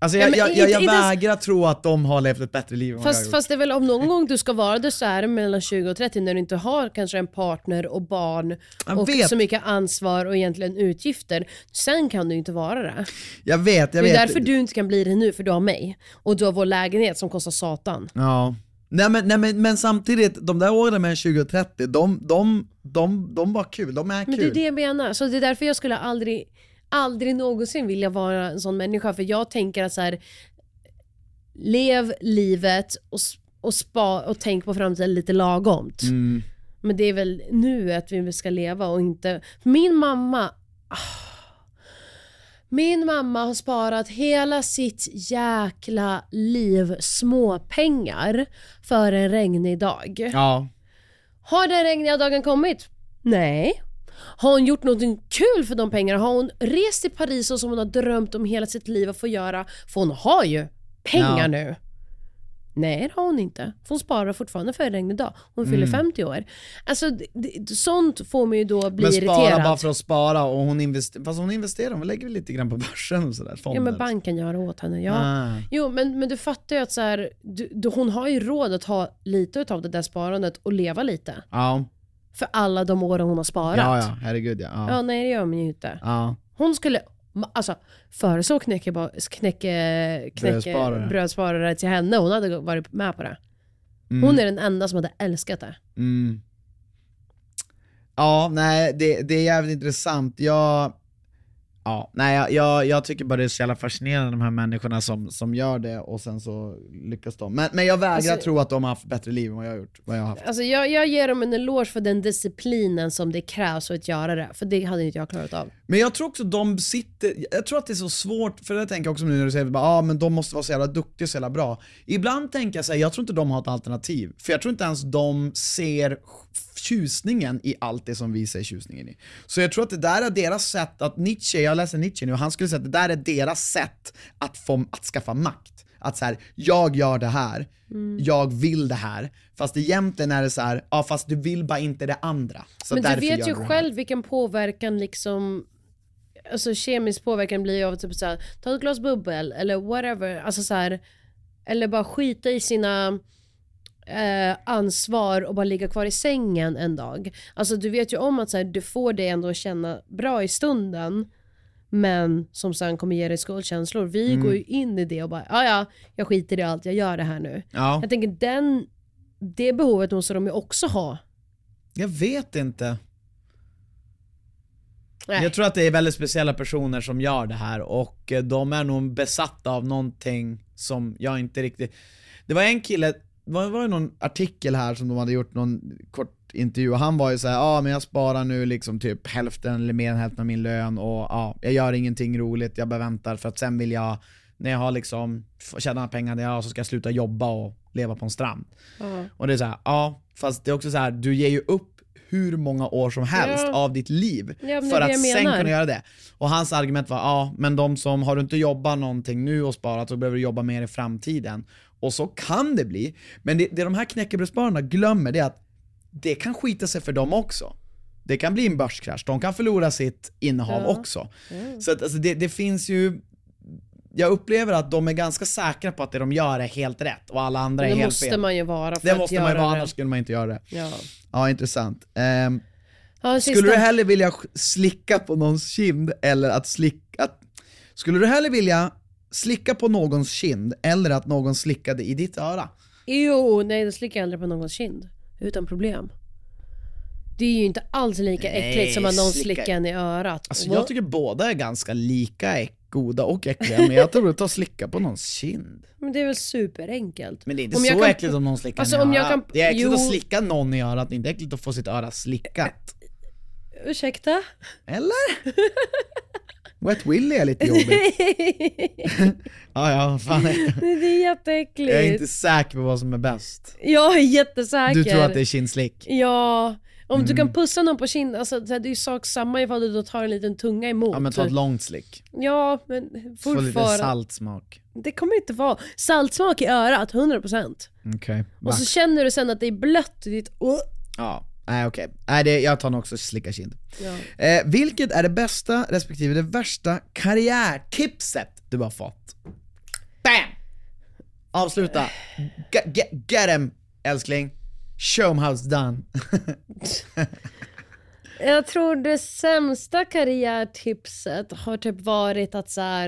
Alltså
Ja,
jag,
men
jag,
inte-
jag, jag
inte ens-
vägrar tro att de har levt ett bättre liv än vad jag har
Fast,
gjort.
fast det är väl om någon gång du ska vara det så är det mellan 20 och 30 när du inte har kanske en partner och barn
Jag
och
vet.
så mycket ansvar och egentligen utgifter. Sen kan du inte vara det.
Jag vet, jag
det är
vet.
därför du inte kan bli det nu, för du har mig. Och du har vår lägenhet som kostar satan.
Ja. Nej, men, nej, men, men samtidigt, de där åren med 20 och 30, de, de, de, de var kul, de är
Men det
kul.
är det jag menar. Så det är därför jag skulle aldrig, aldrig någonsin vilja vara en sån människa. För jag tänker att så här, lev livet och, s- och, spa, och tänk på framtiden lite lagomt.
Mm.
Men det är väl nu att vi ska leva och inte... Min mamma... ah. Min mamma har sparat hela sitt jäkla liv småpengar för en regnig dag.
Ja.
Har den regniga dagen kommit? Nej. Har hon gjort någonting kul för de pengarna? Har hon rest till Paris så som hon har drömt om hela sitt liv att få göra? För hon har ju pengar
Ja.
nu. Nej, det har hon inte. För hon sparar fortfarande för en regnig dag. Hon fyller
Mm.
50 år. Alltså, det- det- sånt får mig ju då bli
Men spara
irriterad.
bara för att spara och hon investerar, fast hon investerar, hon lägger väl lite grann på börsen och sådär, fonder.
Ja men banken gör det åt henne. Ja.
Ah.
Jo men, men du fattar ju att så här, du, du, hon har ju råd att ha lite av det där sparandet och leva lite.
Ja,
För alla de åren hon har sparat.
ja, ja, herregud ja. ja.
Ja, nej det gör man ju inte.
ja.
Hon skulle, ma- alltså föreslå knäcke, knäcke, knäcke
Brödsparare.
brödsparare till henne, hon hade varit med på det.
Mm.
Hon är den enda som hade älskat det.
Mm. Ja, nej det, det är jävligt intressant. Jag, ja, nej, jag, jag, jag tycker bara det är så jävla fascinerande de här människorna som, som gör det och sen så lyckas de. Men, men jag vägrar
Alltså-
tro att de har haft bättre liv än vad jag har gjort. Vad jag har haft.
Alltså jag, jag ger dem en eloge för den disciplinen som det krävs för att göra det, för det hade inte jag klarat av.
Men jag tror också de sitter, jag tror att det är så svårt, för det tänker jag också nu när du säger att ah, men de måste vara så jävla duktiga och så jävla bra. Ibland tänker jag så här, jag tror inte de har ett alternativ. För jag tror inte ens de ser tjusningen i allt det som vi ser tjusningen i. Så jag tror att det där är deras sätt att Nietzsche, jag läser Nietzsche nu, han skulle säga att det där är deras sätt att, få, att skaffa makt. Att så här, jag gör det här,
Mm.
jag vill det här. Fast egentligen är det så här, ja fast du vill bara inte det andra. Så
Men du
därför
vet
gör
ju
det här."
själv vilken påverkan liksom Alltså kemisk påverkan blir ju av typ såhär, ta ett glas bubbel eller whatever. Alltså så här, eller bara skita i sina eh, ansvar och bara ligga kvar i sängen en dag. Alltså du vet ju om att så här, du får det ändå att känna bra i stunden. Men som sen kommer ge dig skuldkänslor. Vi
Mm.
går ju in i det och bara, ja ja, jag skiter i allt, jag gör det här nu.
Ja.
Jag tänker den, det behovet måste de ju också ha.
Jag vet inte.
Nej.
Jag tror att det är väldigt speciella personer som gör det här och eh, de är nog besatta av någonting som jag inte riktigt... Det var en kille, det var, var ju någon artikel här som de hade gjort, någon kort intervju och han var ju såhär, ja ah, men jag sparar nu liksom typ hälften eller mer än hälften av min lön och ja, ah, jag gör ingenting roligt, jag bara väntar för att sen vill jag, när jag har liksom f- tjänat pengar, ja, så ska jag sluta jobba och leva på en strand.
Ja.
Och det är såhär, ja fast det är också så här: du ger ju upp hur många år som helst
Ja.
av ditt liv
Ja, men det är
för
det
att
jag
sen
menar.
kunna göra det. Och hans argument var, ja men de som, har du inte jobbat någonting nu och sparat så behöver du jobba mer i framtiden. Och så kan det bli, men det, det de här knäckebrödsspararna glömmer det är att det kan skita sig för dem också. Det kan bli en börskrasch, de kan förlora sitt innehav
Ja. Mm.
också. Så att, alltså, det, det finns ju jag upplever att de är ganska säkra på att det de gör är helt rätt och alla andra är
Det
helt
måste
fel.
man ju vara för
Det
att
måste
göra
man ju vara,
det.
annars skulle man inte göra det.
Ja.
Ja, intressant. Ehm,
Ja, en
skulle
sista.
du hellre vilja sk- slicka på någons kind eller att slicka... Att, skulle du hellre vilja slicka på någons kind eller att någon slickade i ditt öra?
Jo, nej då slickar jag aldrig på någons kind. Utan problem. Det är ju inte alls lika äckligt som att någon
slicka-
slickar en i örat.
Alltså
Va?
jag tycker båda är ganska lika äck, goda och äckliga, men jag tror att ta slicka på någons kind.
Men det är väl superenkelt.
Men det är inte
Om
så
jag kan-
äckligt om någon slickar
Alltså,
en i
om jag
örat.
kan-
Det är äckligt att
Jo.
slicka någon i örat, det är inte äckligt att få sitt öra slickat.
Ursäkta?
Eller? Wet Willy är lite jobbigt. Ja, ja, fan.
det är jätteäckligt.
Jag är inte säker på vad som är bäst.
Jag är jättesäker.
Du tror att det är Mm. kindslick?
Ja. Om du kan pussa någon på kinden, alltså, så här, det är ju sak samma ifall du då tar en liten tunga emot.
Ja men ta ett långt slick.
Ja, men
Få lite
fortfarande.
saltsmak.
Det kommer inte vara. Saltsmak i örat, 100%.
Okej.
Och så känner du sen att det är blött i ditt... Åh!
Ja, nej okej. Nej, det, jag tar nog också slicka kind.
Ja.
Eh, vilket är det bästa respektive det värsta karriärtipset du har fått? Bam! Avsluta. Get, get, get him, älskling. Show 'em how it's done.
Jag tror det sämsta karriärtipset har typ varit att så här.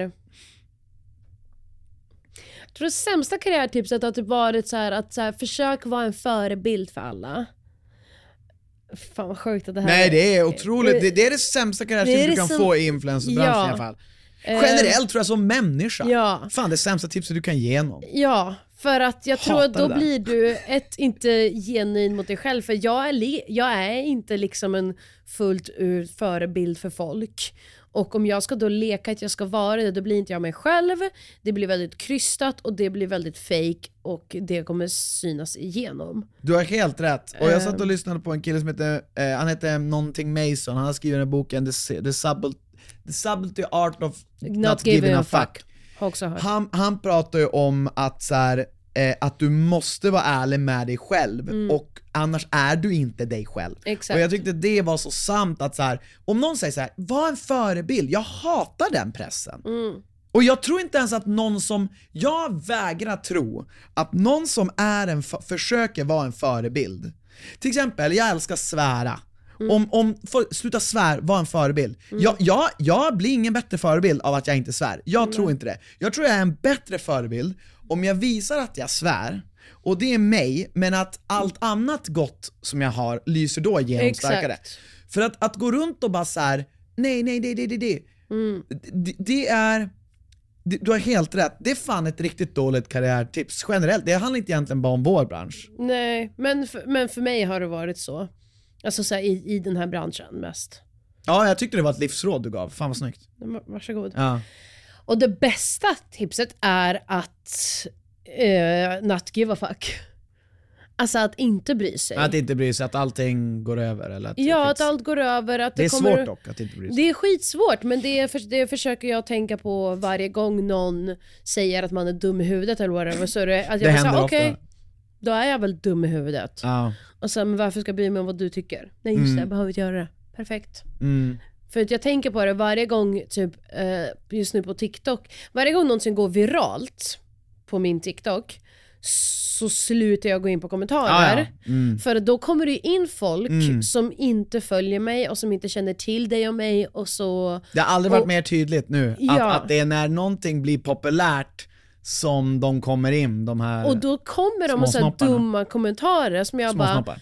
Jag tror det sämsta karriärtipset har typ varit så här att så här, försök vara en förebild för alla. Fan vad sjukt att det här
Nej det är otroligt, det, det är det sämsta
Det
karriärtipset
är
du
det
kan
som-
få i influencerbranschen
Ja.
i alla fall.
Eh,
Generellt tror jag som människa.
Ja.
Fan det sämsta tipset du kan ge någon.
Ja, för att jag tror att
Hatar
då
det där.
blir du ett, inte genuin mot dig själv. För jag är, le- jag är inte liksom en fullt ut förebild för folk. Och om jag ska då leka att jag ska vara det, då blir inte jag mig själv. Det blir väldigt krystat och det blir väldigt fake och det kommer synas igenom.
Du har helt rätt. Och jag satt och lyssnade på en kille som heter, eh, han heter någonting Mason, han har skrivit den här boken The, S- The, Subtle, The Subtlety Art of Not, Giving, a Fuck.
Har också hört.
Han, han pratar ju om att, så här, eh, att du måste vara ärlig med dig själv, och annars är du inte dig själv.
Exakt.
Och jag tyckte det var så sant att så här, om någon säger så här, var en förebild, jag hatar den pressen. Och jag tror inte ens att någon som, jag vägrar tro att någon som är en, f- försöker vara en förebild. Till exempel, jag älskar svära. Om, om för, sluta svär, var en förebild. Jag, jag, jag blir ingen bättre förebild av att jag inte svär. Jag tror inte det. Jag tror jag är en bättre förebild om jag visar att jag svär, och det är mig, men att allt annat gott som jag har lyser då igenom
Exakt.
starkare. För att, att gå runt och bara så här: nej, nej, nej, nej, nej, nej. Mm. Det, det är... det- Du har helt rätt, det är fan ett riktigt dåligt karriärtips generellt. Det handlar inte egentligen bara om vår bransch.
Nej, men för, men för mig har det varit så. Alltså så här, i, i den här branschen mest.
Ja, jag tyckte det var ett livsråd du gav. Fan vad snyggt.
Varsågod.
Ja.
Och det bästa tipset är att uh, not give a fuck. Alltså att inte bry sig.
Att inte bry sig, att allting går över. Eller Eh. att
ja,
det
att
fixar-
allt går över. Att det,
det är
kommer...
svårt dock att inte bry sig.
Det är skitsvårt, men det, är för, det försöker jag tänka på varje gång någon säger att man är dum i huvudet eller whatever. Så är det, att
Det
jag bara
händer
säger okej,
ofta.
då är jag väl dum i huvudet.
Ja.
Och sen, men varför ska jag bry mig om vad du tycker? Nej just det, jag behöver inte göra det. Perfekt.
Mm.
För att jag tänker på det varje gång, typ eh, just nu på TikTok, varje gång någonsin går viralt på min TikTok så slutar jag gå in på kommentarer.
Ja, ja. Mm.
För då kommer det ju in folk som inte följer mig och som inte känner till dig och mig och så...
Det har aldrig varit
Och-
mer tydligt nu,
Ja.
att, att det är när någonting blir populärt som de kommer in, de här
Och då kommer de med så här
Småsnopparna.
dumma kommentarer som jag bara...
småsnoppar.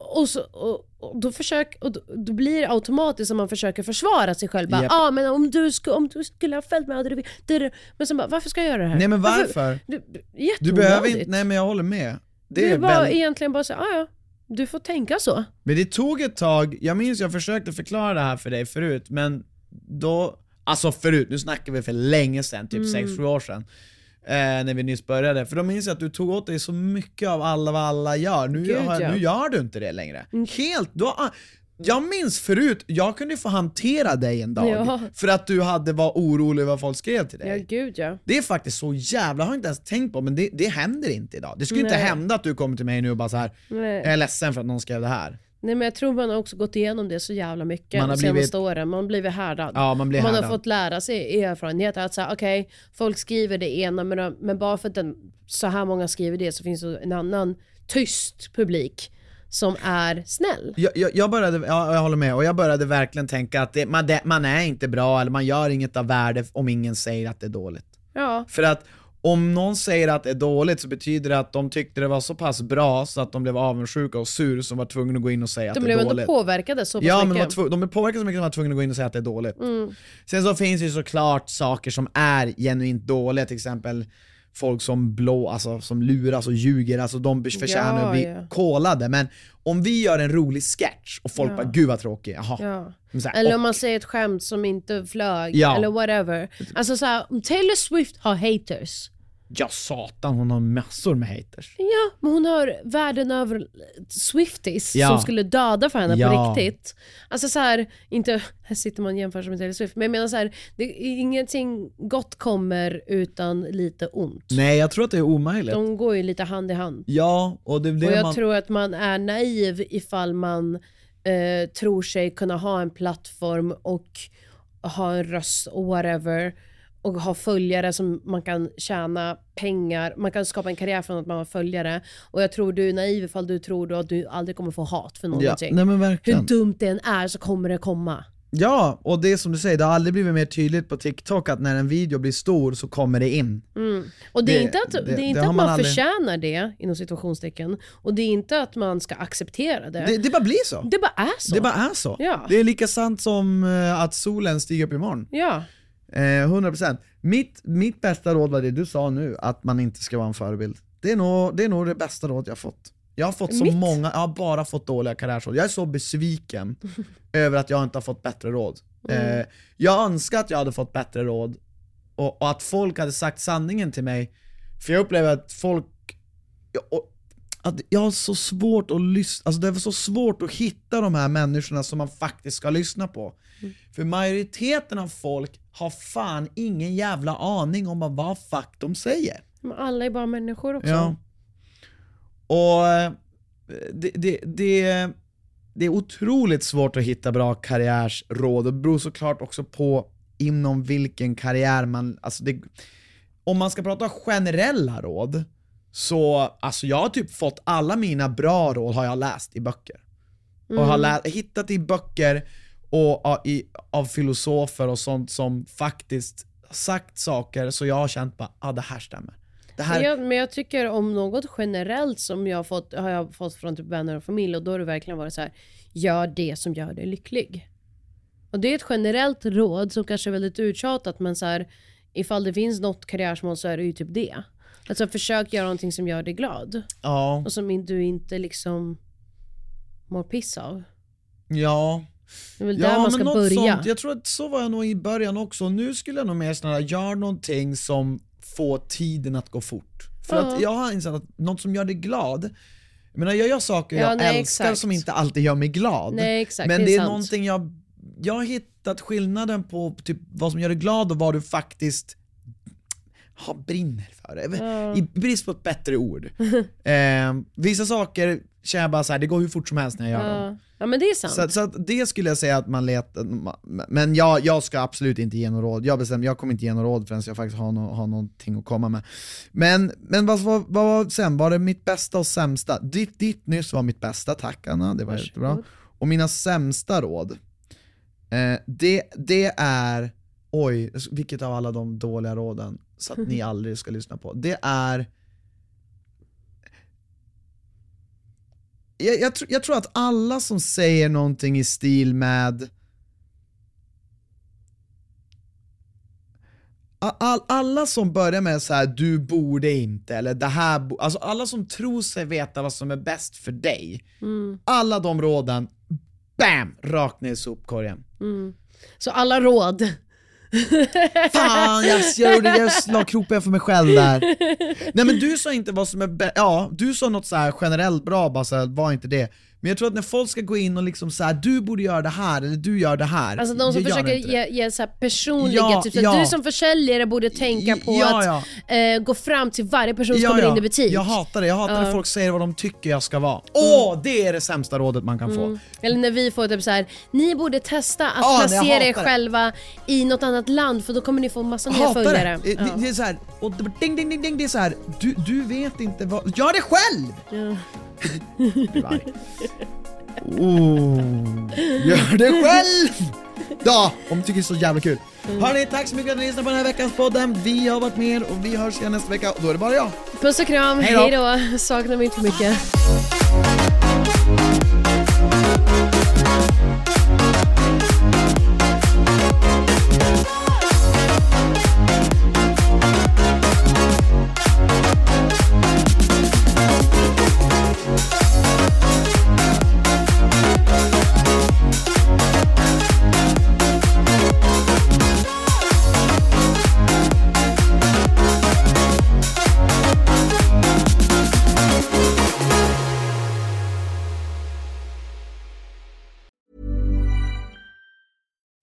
Och, så, och, och då, försök, och då, då blir det automatiskt som man försöker försvara sig själv. Bara,
Japp.
ah, men om, du sku, om du skulle ha följt mig hade du... det- det- Men sen bara, varför ska jag göra det här?
Nej men varför?
Du,
Du behöver inte, nej men jag håller med. Det är
bara,
väl,
egentligen bara så, ah, ja Du får tänka så.
Men det tog ett tag, jag minns jag försökte förklara det här för dig förut, men då... Alltså förut, nu snackar vi för länge sedan, typ
Mm.
6-7 år sedan. Eh, när vi nyss började, för då minns jag att du tog åt dig så mycket av alla vad alla gör. Nu,
Gud,
har,
ja. Mm.
nu gör du inte det längre. Helt! Du har, jag minns förut, jag kunde få hantera dig en dag
Ja.
för att du hade var orolig över vad folk skrev till dig.
Ja, gud ja.
Det är faktiskt så jävla, har jag inte ens tänkt på, men det, det händer inte idag. Det skulle inte
Nej.
hända att du kommer till mig nu och bara så här.
Nej.
jag är ledsen för att någon skrev det här.
Nej men jag tror man har också gått igenom det så jävla mycket
Man har
de senaste
blivit-
åren. Man har blivit härdad.
Ja, man blir
man har
härdad.
fått lära sig i erfarenhet att så här, okej, folk skriver det ena men, de- men bara för att den, så här många skriver det så finns det en annan tyst publik som är snäll.
Jag, jag, jag började, ja, jag håller med, och jag började verkligen tänka att det, man, det, man är inte bra eller man gör inget av värde om ingen säger att det är dåligt.
Ja,
För att om någon säger att det är dåligt så betyder det att de tyckte det var så pass bra så att de blev avundsjuka och sur som var tvungna att gå in och säga
de
att det
blev
är
ändå
dåligt.
påverkade så pass
Ja, men de, var
mycket.
tvu- de är påverkade så mycket att de var tvungna att gå in och säga att det är dåligt.
Mm.
Sen så finns det ju såklart saker som är genuint dåliga, till exempel folk som blå, alltså som luras och ljuger, alltså de be- förtjänar
Ja,
att bli
ja.
kolade. Men om vi gör en rolig sketch och folk
Ja.
bara “Gud vad tråkig, jaha”.
Ja.
Men så här,
Eller
och-
om man säger ett skämt som inte flög,
Ja.
eller whatever. Alltså såhär, Taylor Swift har haters.
Ja satan, hon har massor med haters.
Ja, men hon har världen över Swifties
Ja.
som skulle döda för henne
Ja.
på riktigt. Alltså så här, inte, här sitter man och jämför sig med Taylor Swift, men jag menar så här, det, ingenting gott kommer utan lite ont.
Nej, jag tror att det är omöjligt.
De går ju lite hand i hand.
Ja, och det är det
och jag
man...
tror att man är naiv ifall man eh, tror sig kunna ha en plattform och ha en röst och whatever och ha följare som man kan tjäna pengar, man kan skapa en karriär från att man har följare. Och jag tror du är naiv ifall du tror då att du aldrig kommer få hat för
ja.
någonting.
Nej men
Hur
verkligen.
dumt det än är så kommer det komma.
Ja, och det är som du säger, det har aldrig blivit mer tydligt på TikTok att när en video blir stor så kommer det in.
Mm. Och det,
Det-
är inte att, det,
det-
är inte
det har
att man,
man aldrig-
förtjänar det, inom situationstecken. Och det är inte att man ska acceptera det.
Det,
Det,
det bara blir så.
bara är så.
Det bara är så.
Ja.
Det är lika sant som eh, att solen stiger upp imorgon.
Ja.
Eh, 100%. Mitt, mitt bästa råd var det du sa nu, att man inte ska vara en förebild. Det är nog det, är nog det bästa råd jag har fått. Jag har fått så
Mitt?
många, jag har bara fått dåliga karriärsråd. Jag är så besviken över att jag inte har fått bättre råd. Eh, jag önskar att jag hade fått bättre råd och, och att folk hade sagt sanningen till mig. För jag upplever att folk... Jag, och, att jag har så svårt att lyssna, alltså det är så svårt att hitta de här människorna som man faktiskt ska lyssna på. För majoriteten av folk har fan ingen jävla aning om vad- vad fuck de säger.
Men alla är bara människor också.
Ja. Och eh, det, det, det, det är otroligt svårt att hitta bra karriärsråd och det beror såklart också på inom vilken karriär man... Alltså det, om man ska prata generella råd, så alltså jag har typ fått alla mina bra råd har jag läst i böcker. Och
Mm.
har lä- hittat i böcker och, av- i, av filosofer och sånt som faktiskt sagt saker så jag har känt bara, ah, det här stämmer. Det här,
Jag, men jag tycker om något generellt som jag har fått, har jag fått från typ vänner och familj och då har det verkligen varit så här: gör det som gör dig lycklig. Och det är ett generellt råd som kanske är väldigt uttjatat men så här, ifall det finns något karriärsmål så är det ju typ det. Alltså försök göra någonting som gör dig glad
ja.
och som in- du inte liksom mår piss av.
Ja,
Det är väl där
ja
man ska
något
börja.
sånt. Jag tror att så var jag nog i början också. Nu skulle jag nog mer snarare göra någonting som får tiden att gå fort. För
Ja.
att jag har insett att något som gör dig glad, jag menar jag gör saker
Ja,
jag
nej,
älskar
exakt.
som inte alltid gör mig glad.
Nej, exakt,
Men
det är
det är
sant.
någonting jag, jag har hittat skillnaden på typ vad som gör dig glad och vad du faktiskt har brinner för. I brist på ett bättre ord. eh, vissa saker känner jag bara så här, det går hur fort som helst när jag gör dem.
ja. ja men det är sant.
Så, att- så att det skulle jag säga att man letar, men jag, jag ska absolut inte ge något råd. Jag bestämmer, jag kommer inte ge något råd förrän jag faktiskt har, no, har någonting att komma med. Men, men vad, vad, vad var sen? Var det mitt bästa och sämsta? Ditt, ditt nyss var mitt bästa, tack Anna, det var jättebra. Och mina sämsta råd, eh, det, det är, oj, vilket av alla de dåliga råden, så att ni aldrig ska lyssna på. Det är, jag, jag, tr- jag tror att alla som säger någonting i stil med all, alla som börjar med så här du borde inte, eller det här, bo-", alltså alla som tror sig veta vad som är bäst för dig,
Mm.
alla de råden, BAM! Rakt ner i sopkorgen.
Mm. Så alla råd.
Fan, jag, jag, gjorde- jag la kroppen för mig själv där. Nej men du sa inte vad som är bäst, ja du sa något så här generellt bra bara så här, var inte det. Men jag tror att när folk ska gå in och liksom så här, du borde göra det här, eller du gör det här.
Alltså de som
jag gör
försöker
inte det.
ge, ge så här personliga
Ja,
tips. Att
ja.
Du som försäljare borde tänka på
Ja,
att eh, gå fram till varje person som kommer in i butik.
Jag hatar det, jag hatar när
Ja.
folk säger vad de tycker jag ska vara. Åh, det är det sämsta rådet man kan få.
Mm. Eller när vi får typ så här: ni borde testa att
Ja, nej, jag
placera er
hatar det.
själva i något annat land för då kommer ni få massa nya
Hatar
följare.
det. Det, det, det är så här, och det, ding, ding, ding, ding, det är så här, du, du vet inte vad, gör det själv!
Ja.
Blir arg. Oh, gör det själv! Ja, om du tycker det är så jävla kul.
Mm.
Hörni, tack så mycket för att ni lyssnade på den här veckans podden. Vi har varit med er och vi hörs igen nästa vecka och då är det bara jag.
Puss och kram,
Hej då.
hej då. Saknar mig inte för mycket.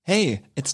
Hey, it's